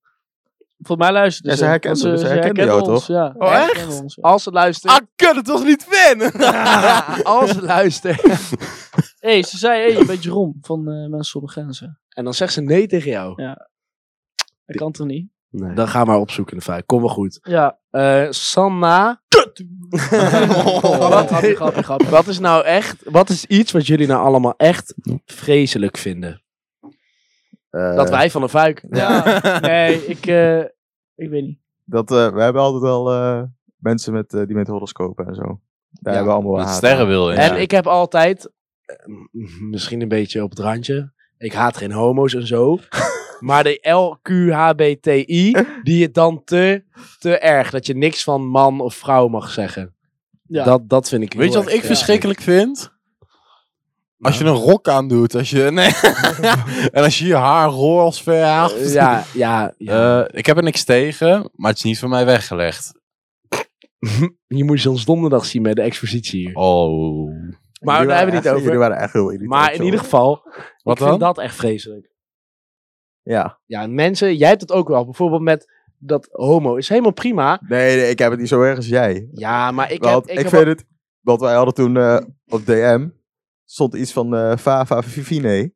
Speaker 6: Volgens mij luisterde
Speaker 4: Ja, ze herkende-
Speaker 6: want
Speaker 4: ze herkende jou,
Speaker 6: ons,
Speaker 4: toch?
Speaker 6: Ja,
Speaker 1: Oh,
Speaker 6: ze herkende ons, ja.
Speaker 3: Als ze luistert.
Speaker 1: Ah, kut, het was niet Finn.
Speaker 3: als ze luistert.
Speaker 6: hey, ze zei, hey, je bent Jeroen van eh, Mensen zonder Grenzen.
Speaker 3: En dan zegt ze nee tegen jou.
Speaker 6: Dat kan toch niet?
Speaker 7: Nee.
Speaker 3: Dan gaan we haar opzoeken in de fuik. Kom wel goed.
Speaker 6: Ja,
Speaker 3: Eh, Sanna.
Speaker 1: Oh,
Speaker 3: Oh,
Speaker 6: grappig, grappig, grappig, grappig.
Speaker 3: Wat is nou echt, wat is iets wat jullie nou allemaal echt vreselijk vinden?
Speaker 4: eh,
Speaker 3: dat wij van een fuik.
Speaker 6: Ja, nee, ik, eh, ik weet niet.
Speaker 4: Dat, eh, we hebben altijd wel eh, mensen met, eh, die met horoscopen en zo. Daar hebben we allemaal wel
Speaker 1: Met
Speaker 4: haat
Speaker 1: sterren
Speaker 4: aan.
Speaker 1: wil je.
Speaker 3: En ik heb altijd, eh, m- misschien een beetje op het randje, ik haat geen homo's en zo. maar de LQHBTI, die het dan te, te erg. Dat je niks van man of vrouw mag zeggen.
Speaker 6: Ja.
Speaker 3: Dat, dat vind ik heel
Speaker 1: Weet je wat
Speaker 3: erg,
Speaker 1: ik
Speaker 3: ja.
Speaker 1: verschrikkelijk vind? Als je een rok aandoet, als je, nee. en als je je haar roze verhaagt.
Speaker 6: Eh,
Speaker 3: Ja, ja, ja.
Speaker 1: Eh, ik heb er niks tegen, maar het is niet van mij weggelegd.
Speaker 3: je moet ze ons donderdag zien bij de expositie hier.
Speaker 1: Oh.
Speaker 3: Maar
Speaker 4: Jullie
Speaker 3: daar
Speaker 4: waren
Speaker 3: hebben we
Speaker 4: echt-
Speaker 3: het niet
Speaker 4: Jullie
Speaker 3: over.
Speaker 4: waren echt heel irritant.
Speaker 3: Maar in
Speaker 4: joh.
Speaker 3: ieder geval,
Speaker 1: Wat
Speaker 3: ik
Speaker 1: dan?
Speaker 3: vind dat echt vreselijk.
Speaker 4: Ja.
Speaker 3: Ja, mensen, jij hebt het ook wel. Bijvoorbeeld met dat homo is helemaal prima.
Speaker 4: Nee, nee, ik heb het niet zo erg als jij.
Speaker 3: Ja, maar ik heb...
Speaker 4: Want
Speaker 3: Ik,
Speaker 4: ik
Speaker 3: heb
Speaker 4: vind het... Want wij hadden toen eh, op DM... Stond iets van eh Fava Vivine.
Speaker 3: al-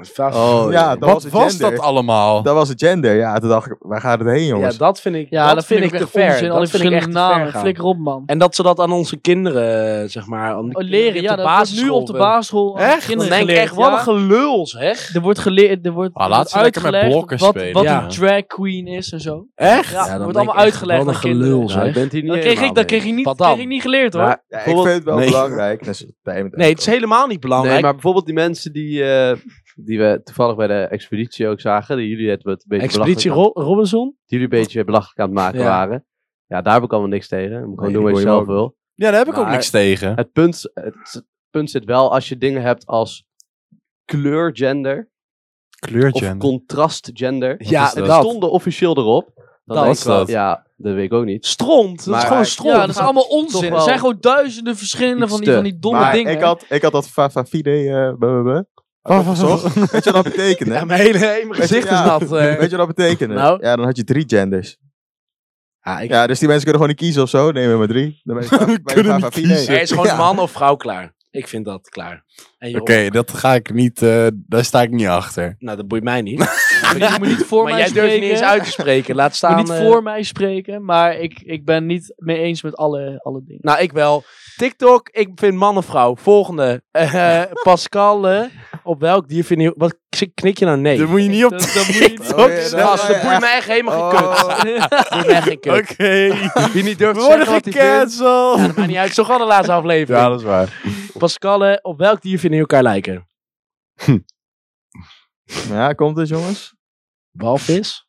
Speaker 1: Oh,
Speaker 4: Ja, dat
Speaker 1: wat
Speaker 4: was het
Speaker 1: was
Speaker 4: gender.
Speaker 1: dat allemaal?
Speaker 4: Dat was het gender. Ja, toen dacht ik, waar gaat het heen,
Speaker 3: Oh. Ja,
Speaker 4: jongens?
Speaker 3: dat vind ik,
Speaker 6: Ja,
Speaker 3: dat
Speaker 6: dat
Speaker 3: vind ik, te
Speaker 6: echt
Speaker 3: ver.
Speaker 6: onzin. Al die
Speaker 3: dat vind ik echt
Speaker 6: verschillende
Speaker 3: te ver
Speaker 6: namen.
Speaker 3: gaan.
Speaker 6: Flikker op, man.
Speaker 3: En dat ze dat aan onze kinderen, eh, zeg maar, aan de
Speaker 6: Oh,
Speaker 3: kinderen
Speaker 6: leren,
Speaker 3: die de
Speaker 6: ja, dat wordt nu
Speaker 3: basisschool
Speaker 6: op de
Speaker 3: hebben.
Speaker 6: basisschool. aan de
Speaker 3: Echt? Dan
Speaker 6: kinderen
Speaker 3: denk ik
Speaker 6: geleerd,
Speaker 3: echt, wat
Speaker 6: ja.
Speaker 3: een gelul zeg.
Speaker 6: Er wordt geleerd, er wordt,
Speaker 1: Ah,
Speaker 6: er
Speaker 1: laat
Speaker 6: wordt
Speaker 1: ze lekker met
Speaker 6: uitgelegd
Speaker 1: blokken
Speaker 6: wat,
Speaker 1: spelen,
Speaker 6: wat
Speaker 3: ja.
Speaker 6: een drag queen is en zo.
Speaker 3: Echt?
Speaker 6: Ja, wordt allemaal uitgelegd
Speaker 3: Wat een
Speaker 6: aan kinderen.
Speaker 3: gelul
Speaker 7: Nou, ik
Speaker 3: zeg.
Speaker 7: ben het hier niet
Speaker 6: Dat kreeg ik,
Speaker 7: helemaal
Speaker 6: dat kreeg ik, niet,
Speaker 3: Wat dan?
Speaker 6: kreeg ik niet geleerd hoor.
Speaker 4: Maar, ja, ik vind het wel
Speaker 1: Nee.
Speaker 4: belangrijk. net zoals bij iemand
Speaker 3: Nee, het
Speaker 4: anders
Speaker 3: is helemaal niet belangrijk.
Speaker 2: Nee, maar bijvoorbeeld die mensen die... eh,
Speaker 7: mee. Die we toevallig bij de expeditie ook zagen. Die jullie het wat een beetje
Speaker 3: Expeditie
Speaker 7: belachelijk-
Speaker 3: Ro- Robinson?
Speaker 7: die jullie een beetje belachelijk aan het maken
Speaker 3: Ja.
Speaker 7: waren. Ja, daar heb ik allemaal niks tegen. Dan moet ik gewoon
Speaker 4: Nee,
Speaker 7: doen wat
Speaker 4: die
Speaker 7: je
Speaker 4: wil je
Speaker 7: zelf
Speaker 4: ook.
Speaker 7: wil.
Speaker 1: Ja, daar heb ik ook
Speaker 7: Maar-
Speaker 1: niks tegen.
Speaker 7: Het punt, het punt zit wel als je dingen hebt als kleurgender of
Speaker 1: Kleurtje.
Speaker 7: contrastgender.
Speaker 1: Ja,
Speaker 7: En die
Speaker 1: dat.
Speaker 7: stonden officieel erop. Dan
Speaker 1: Dat
Speaker 7: denk
Speaker 1: is
Speaker 7: ik wel,
Speaker 1: dat.
Speaker 7: Ja, dat weet ik ook niet.
Speaker 3: Stront. Dat
Speaker 4: Maar-
Speaker 3: is gewoon stront.
Speaker 6: ja, dat is allemaal onzin.
Speaker 7: wel
Speaker 6: Er zijn gewoon duizenden verschillende
Speaker 7: iets
Speaker 6: van die,
Speaker 7: te.
Speaker 6: van die
Speaker 4: doet.
Speaker 6: domme
Speaker 4: maar
Speaker 6: dingen.
Speaker 4: Ik had, ik had dat Fava Vivine... Weet je wat dat betekende?
Speaker 3: Ja, mijn hele, hele gezicht
Speaker 4: Ja.
Speaker 3: is dat. eh.
Speaker 4: Weet je wat dat betekende?
Speaker 3: Nou?
Speaker 4: Ja, dan had je drie genders.
Speaker 3: Ja, Ah, ik-
Speaker 4: Ja, dus die mensen kunnen gewoon niet kiezen of zo. Neem er maar drie. Dan ben je, ben je
Speaker 1: Kunnen niet
Speaker 4: vijf à vier.
Speaker 1: kiezen.
Speaker 3: Er is gewoon
Speaker 4: Ja.
Speaker 3: man of vrouw klaar. Ik vind dat klaar. En
Speaker 1: Oké,
Speaker 3: Jeroen?
Speaker 1: dat ga ik niet, eh, daar sta ik niet achter.
Speaker 3: Nou, dat boeit mij niet.
Speaker 6: je moet niet voor
Speaker 3: maar
Speaker 6: mij
Speaker 3: jij durft
Speaker 6: spreken.
Speaker 3: niet eens uit te spreken. Laat
Speaker 6: je
Speaker 3: staan...
Speaker 6: moet niet
Speaker 3: eh,
Speaker 6: voor mij spreken, maar ik, ik ben niet mee eens met alle, alle dingen.
Speaker 3: Nou, ik wel. TikTok, ik vind man of vrouw. Volgende. Eh, Pascal, eh, op welk dier vind je... Wat knik je nou nee?
Speaker 1: Daar moet je niet op.
Speaker 6: Dat, dat moet je niet-
Speaker 4: Oh, ja, dat-
Speaker 3: Gast, dat
Speaker 4: ja.
Speaker 3: boeit mij echt helemaal geen
Speaker 4: Oh.
Speaker 3: kut. Dat boeit mij echt geen kut.
Speaker 1: Oké.
Speaker 3: Wie niet durft
Speaker 1: We
Speaker 3: te
Speaker 1: worden
Speaker 3: zeggen wat hij vindt. Ja,
Speaker 1: gecanceld.
Speaker 3: dat maakt niet uit. Zo gaat de laatste aflevering.
Speaker 1: is waar.
Speaker 3: Pascal, eh, op welk dier vinden jullie elkaar lijken?
Speaker 4: Ja, komt het jongens?
Speaker 3: Walvis?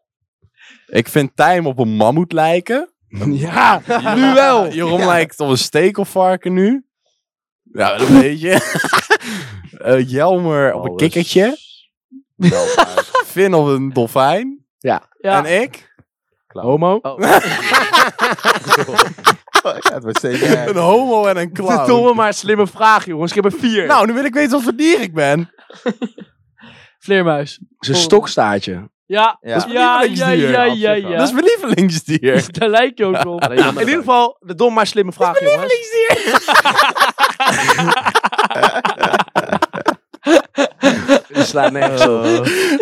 Speaker 1: Ik vind Tijm op een mammoet lijken.
Speaker 3: Ja,
Speaker 1: Nu wel. Jeroen lijkt op een stekelvarken nu. Ja, dat weet je. Eh, Jelmer op een
Speaker 7: Alles.
Speaker 1: kikkertje. Finn op een dolfijn.
Speaker 6: ja,
Speaker 1: Nou, En ik?
Speaker 3: Homo?
Speaker 7: Oh.
Speaker 4: Oh, Ja, het wordt steeds erger.
Speaker 1: Een homo en een
Speaker 3: Domme,
Speaker 1: clown.
Speaker 3: maar slimme vraag, jongens. Ik heb er vier.
Speaker 1: Nou, nu wil ik weten wat voor dier ik ben.
Speaker 6: vleermuis.
Speaker 3: Zijn stokstaartje.
Speaker 6: Ja,
Speaker 4: Ja. Dat is
Speaker 6: ja, ja, ja,
Speaker 1: lievelingsdier.
Speaker 6: ja, ja,
Speaker 1: Dat is mijn lievelingsdier.
Speaker 6: Daar lijkt je ook op.
Speaker 7: Alleen maar
Speaker 3: In ieder geval, de dom maar slimme vraag, jongens. Dit slaat nergens op.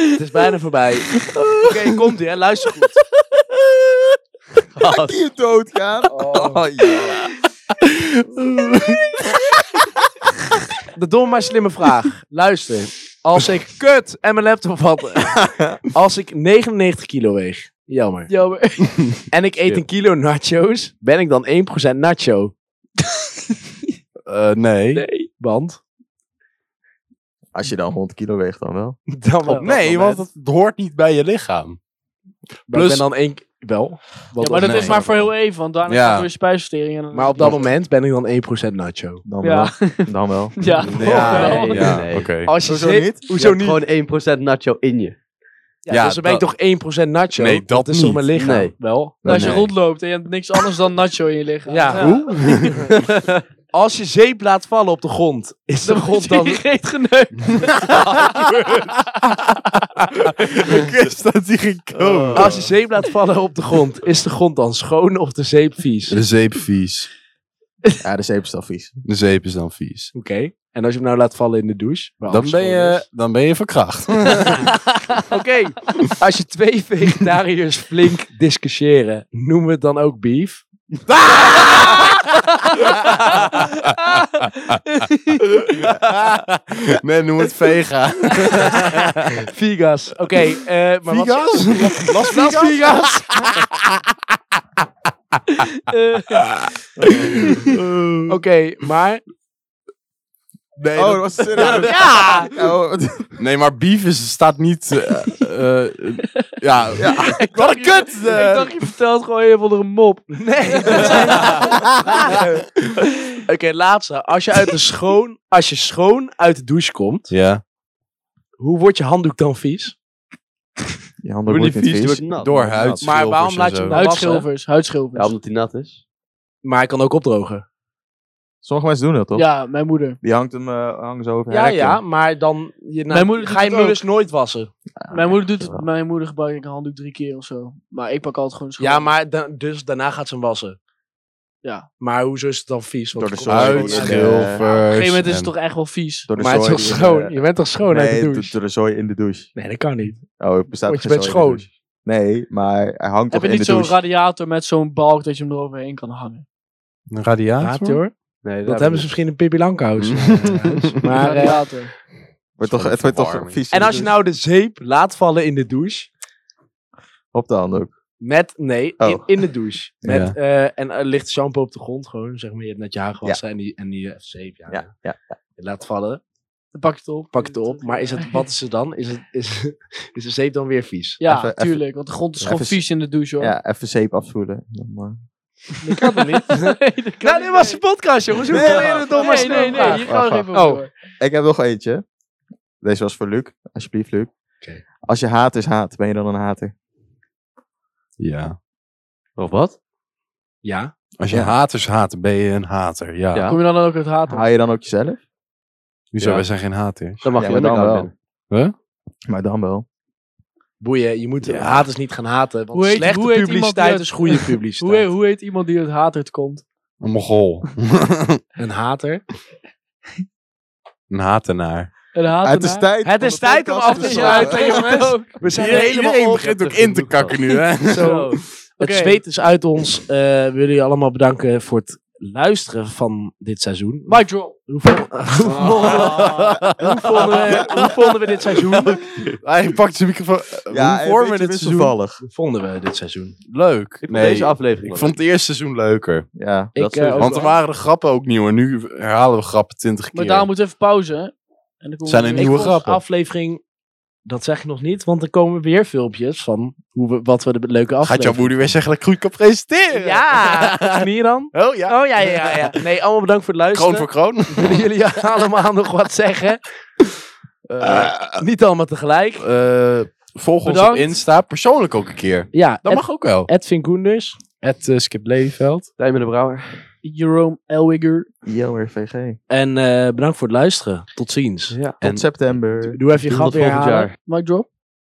Speaker 3: Het is bijna voorbij. Oh. Oké, komt ie, hè. Luister goed.
Speaker 4: Laat je doodgaan. Oh, ja.
Speaker 3: De dom maar slimme vraag. Luister. Als ik kut en mijn laptop had. Als ik 99 kilo weeg. Jammer.
Speaker 6: Jammer.
Speaker 3: En ik eet een kilo nachos. Ben ik dan 1% nacho?
Speaker 1: Eh, nee.
Speaker 3: Want?
Speaker 4: Als je dan 100 kilo weegt dan wel.
Speaker 3: Dan wel.
Speaker 1: nee, want het hoort niet bij je lichaam.
Speaker 3: Maar ik
Speaker 1: Plus-
Speaker 3: ben dan één... Wel. Want
Speaker 6: Ja, maar dat
Speaker 1: nee.
Speaker 6: is maar voor heel even, want daarna
Speaker 1: Ja.
Speaker 6: gaat het weer spijsvertering. En dan...
Speaker 3: Maar op dat moment ben ik dan 1% nacho.
Speaker 4: Dan
Speaker 6: Ja.
Speaker 4: wel. Dan wel.
Speaker 6: Ja,
Speaker 1: Ja,
Speaker 6: wel.
Speaker 7: nee.
Speaker 1: ja,
Speaker 7: Nee.
Speaker 1: oké.
Speaker 3: Als je
Speaker 4: Hoezo
Speaker 3: zit-
Speaker 4: niet?
Speaker 3: Hoezo niet?
Speaker 7: gewoon 1% nacho in je.
Speaker 3: Ja,
Speaker 1: Ja,
Speaker 3: dus dan ben ik
Speaker 1: dat-
Speaker 3: toch 1% nacho?
Speaker 1: Nee, dat
Speaker 3: is toch
Speaker 1: niet.
Speaker 3: mijn lichaam?
Speaker 7: Nee.
Speaker 3: Wel.
Speaker 6: Als je
Speaker 1: Nee.
Speaker 6: rondloopt en je hebt niks anders dan nacho in je lichaam.
Speaker 3: Ja. Als je zeep laat vallen op de grond, is de
Speaker 6: Dan
Speaker 3: grond
Speaker 6: wordt
Speaker 3: dan...
Speaker 6: dan reet geneukt. Oh,
Speaker 1: Ik wist dat die ging komen.
Speaker 3: Als je zeep laat vallen op de grond, is de grond dan schoon of de zeep vies? Oké.
Speaker 1: De zeep vies.
Speaker 4: Ja, de zeep is dan vies.
Speaker 1: De zeep is dan vies.
Speaker 3: En als je hem nou laat vallen in de douche? waar
Speaker 1: Dan
Speaker 3: alles
Speaker 1: ben,
Speaker 3: schoon
Speaker 1: je,
Speaker 3: is?
Speaker 1: dan ben je verkracht.
Speaker 3: Oké. Als je twee vegetariërs flink discussiëren, noemen we het dan ook beef?
Speaker 1: nee, noem het Vega.
Speaker 3: Vegas. Oké, eh, maar wat-
Speaker 1: Vegas? Las
Speaker 3: Las
Speaker 1: Vegas?
Speaker 3: Vegas.
Speaker 6: Eh,
Speaker 3: Oké, maar
Speaker 1: Nee,
Speaker 4: Oh,
Speaker 1: dat-
Speaker 4: dat was serieus.
Speaker 6: Ja!
Speaker 4: Oh, wat-
Speaker 1: nee, maar beef is, staat niet... eh, eh, ja, wat een kut! eh.
Speaker 6: Ik dacht, je vertelt gewoon een of andere mop.
Speaker 3: Oké, laatste. Als je, uit de schoon, als je schoon uit de douche komt,
Speaker 1: ja.
Speaker 3: hoe wordt je handdoek dan vies?
Speaker 4: Je
Speaker 5: Doe
Speaker 4: handen
Speaker 5: het
Speaker 4: wordt
Speaker 5: niet vies, doe het
Speaker 4: vies.
Speaker 5: nat.
Speaker 1: Door huid.
Speaker 3: Maar waarom laat je hem nou-
Speaker 6: Huidschilvers, huidschilvers.
Speaker 7: Ja,
Speaker 6: Ja,
Speaker 7: omdat hij nat is.
Speaker 3: Maar hij kan ook opdrogen.
Speaker 4: Sommige mensen doen dat toch?
Speaker 6: mijn moeder.
Speaker 4: Die hangt hem eh, hangen zo over haar
Speaker 3: Ja,
Speaker 4: rekken.
Speaker 3: ja, maar dan je, nou,
Speaker 6: Mijn moeder
Speaker 3: ga
Speaker 6: doet
Speaker 3: je
Speaker 6: het
Speaker 3: hem
Speaker 6: ook.
Speaker 3: dus nooit wassen.
Speaker 6: mijn, moeder doet het, mijn moeder gebruikt een handdoek drie keer of zo. Maar ik pak altijd gewoon een schoon.
Speaker 3: Ja, maar da- dus daarna gaat ze hem wassen.
Speaker 6: Ja.
Speaker 3: Maar hoezo is het dan vies? Want
Speaker 4: Door de
Speaker 3: het komt
Speaker 4: zon.
Speaker 1: Huid,
Speaker 3: gewoon eh, uit-
Speaker 4: schil.
Speaker 1: schilfers...
Speaker 6: Op een gegeven moment is het
Speaker 1: en-
Speaker 6: toch echt wel vies.
Speaker 4: Door de
Speaker 3: Maar het is
Speaker 4: zooi
Speaker 3: toch
Speaker 4: die in
Speaker 3: schoon?
Speaker 6: eh,
Speaker 4: de-
Speaker 3: Je bent toch schoon uit de
Speaker 4: Nee,
Speaker 3: douche?
Speaker 4: door- door de zooi in de douche.
Speaker 3: Nee, dat kan niet.
Speaker 4: Oh, er bestaat
Speaker 3: Want je
Speaker 4: geen
Speaker 3: bent
Speaker 4: zooi
Speaker 3: schoon.
Speaker 4: in de douche. Nee, maar hij hangt toch
Speaker 6: Heb je
Speaker 4: in de
Speaker 6: niet zo'n
Speaker 4: douche.
Speaker 6: radiator met zo'n balk dat je hem eroverheen kan hangen?
Speaker 1: Een radiator?
Speaker 3: Haat hoor.
Speaker 7: Nee,
Speaker 3: Dat hebben ze misschien in Pippi Langkous. maar, eh,
Speaker 6: Radiator.
Speaker 4: Wordt toch, het wordt toch
Speaker 1: Verwarming.
Speaker 4: vies. in
Speaker 3: en
Speaker 4: de
Speaker 3: als je
Speaker 4: douche.
Speaker 3: nou de zeep laat vallen in de douche... nou-
Speaker 4: Op de handdoek.
Speaker 3: Met, nee,
Speaker 4: Oh.
Speaker 3: in, in de douche. Met,
Speaker 1: Ja.
Speaker 3: eh, en er ligt shampoo op de grond gewoon. Zeg maar, je hebt net je haar gewassen en die, en die eh, zeep. Ja,
Speaker 4: Ja, ja.
Speaker 3: Je laat vallen,
Speaker 6: Dan pak je het op.
Speaker 3: pak het op. Maar is het, wat is het dan? Is, het, is, is de zeep dan weer vies?
Speaker 6: Ja,
Speaker 4: Even- even-
Speaker 6: tuurlijk. Want de grond is gewoon
Speaker 4: Even-
Speaker 6: vies in de douche, hoor.
Speaker 4: ja, even zeep afvoelen. Dan, eh,
Speaker 6: Dat kan niet.
Speaker 3: Nou, dit was de podcast, jongens. Hoe
Speaker 4: Nee,
Speaker 3: kan je het dan maar
Speaker 6: Nee, nee,
Speaker 3: snel
Speaker 6: nee. Je
Speaker 3: vragen?
Speaker 6: kan er even
Speaker 3: Oh.
Speaker 6: op door.
Speaker 4: Ik heb nog eentje. Deze was voor Luc. Alsjeblieft, Luc.
Speaker 3: Oké.
Speaker 4: Als je haat is haat, ben je dan een hater?
Speaker 1: Ja.
Speaker 7: Of Oh, wat?
Speaker 3: Ja.
Speaker 1: Als je
Speaker 4: Ja.
Speaker 1: haters haat, ben je een hater. Ja.
Speaker 7: Ja.
Speaker 6: Kom je dan ook het haat op?
Speaker 4: Haal je dan ook jezelf?
Speaker 1: Hoezo?
Speaker 7: Ja.
Speaker 1: Wij zijn geen haters.
Speaker 7: Dan mag
Speaker 4: Ja,
Speaker 7: je
Speaker 4: maar dan
Speaker 7: underground
Speaker 4: wel.
Speaker 7: binnen.
Speaker 4: Maar dan wel.
Speaker 3: Boeien, je moet
Speaker 1: Ja.
Speaker 3: haters niet gaan haten. Want
Speaker 6: Hoe heet-
Speaker 3: slechte
Speaker 6: hoe heet iemand die
Speaker 3: publiciteit
Speaker 6: het-
Speaker 3: is goede publiciteit.
Speaker 6: Hoe, heet- hoe heet iemand die het haat uitkomt?
Speaker 1: Een mogol.
Speaker 3: Een hater.
Speaker 1: een hatenaar.
Speaker 6: Een haat
Speaker 4: Het is tijd.
Speaker 3: Het
Speaker 4: om
Speaker 3: is
Speaker 4: de
Speaker 3: tijd om
Speaker 4: podcast
Speaker 3: af te
Speaker 4: sluiten.
Speaker 3: sluiten, jongens. We zijn er helemaal
Speaker 1: Iedereen
Speaker 3: op.
Speaker 1: begint ook in te kakken nu, hè?
Speaker 3: Zo. Het
Speaker 6: Oké.
Speaker 3: zweet is uit ons. Eh, we willen jullie allemaal bedanken voor het luisteren van dit seizoen.
Speaker 6: Mike John.
Speaker 3: Hoe, vo- hoe vonden, hoe, vonden we, hoe vonden we dit seizoen?
Speaker 1: Hij pakt zijn microfoon. Ja, Hoe vormen dit seizoen?
Speaker 3: Hoe vonden we dit seizoen?
Speaker 1: Leuk.
Speaker 7: Ik vond
Speaker 1: Nee,
Speaker 7: deze aflevering
Speaker 1: ik
Speaker 7: wel
Speaker 1: vond het eerste seizoen leuker.
Speaker 4: Ja.
Speaker 7: leuk. Dat
Speaker 6: ik, eh,
Speaker 7: sowieso.
Speaker 1: Want er waren de grappen ook nieuw. En nu herhalen we grappen twintig
Speaker 6: Maar
Speaker 1: keer.
Speaker 6: daarom moeten we even pauze. hè? En dan komen
Speaker 1: Zijn
Speaker 6: we
Speaker 1: er
Speaker 6: weer-
Speaker 1: nieuwe
Speaker 3: Ik vond
Speaker 1: grappen.
Speaker 3: aflevering, dat zeg ik nog niet, want er komen weer filmpjes van hoe we, wat we de leuke
Speaker 1: Gaat jouw
Speaker 3: aflevering...
Speaker 1: moeder weer zeggen dat ik goed kan presenteren?
Speaker 3: Ja, zie je dan?
Speaker 1: Oh ja.
Speaker 3: Oh ja, ja, ja. Nee, allemaal bedankt voor het
Speaker 1: Kroon
Speaker 3: luisteren.
Speaker 1: voor kroon.
Speaker 3: Willen jullie allemaal nog wat zeggen?
Speaker 1: Eh,
Speaker 3: Niet allemaal tegelijk.
Speaker 1: eh, volg ons op
Speaker 3: Bedankt.
Speaker 1: Insta. Persoonlijk ook een keer.
Speaker 3: Ja,
Speaker 1: Dat
Speaker 3: Ed,
Speaker 1: mag ook wel.
Speaker 3: Edwin Koenders.
Speaker 1: Het
Speaker 7: eh,
Speaker 1: Skip Lelyveld.
Speaker 7: Tijmen de Brouwer.
Speaker 6: Jerome Elwigger.
Speaker 4: Yo, VG.
Speaker 3: En eh, bedankt voor het luisteren. Tot ziens.
Speaker 7: Ja.
Speaker 4: Tot september.
Speaker 3: Doe even je
Speaker 7: Doe
Speaker 3: grap
Speaker 7: dat
Speaker 3: weer
Speaker 7: volgend
Speaker 3: halen.
Speaker 7: jaar.
Speaker 6: Mike Drop.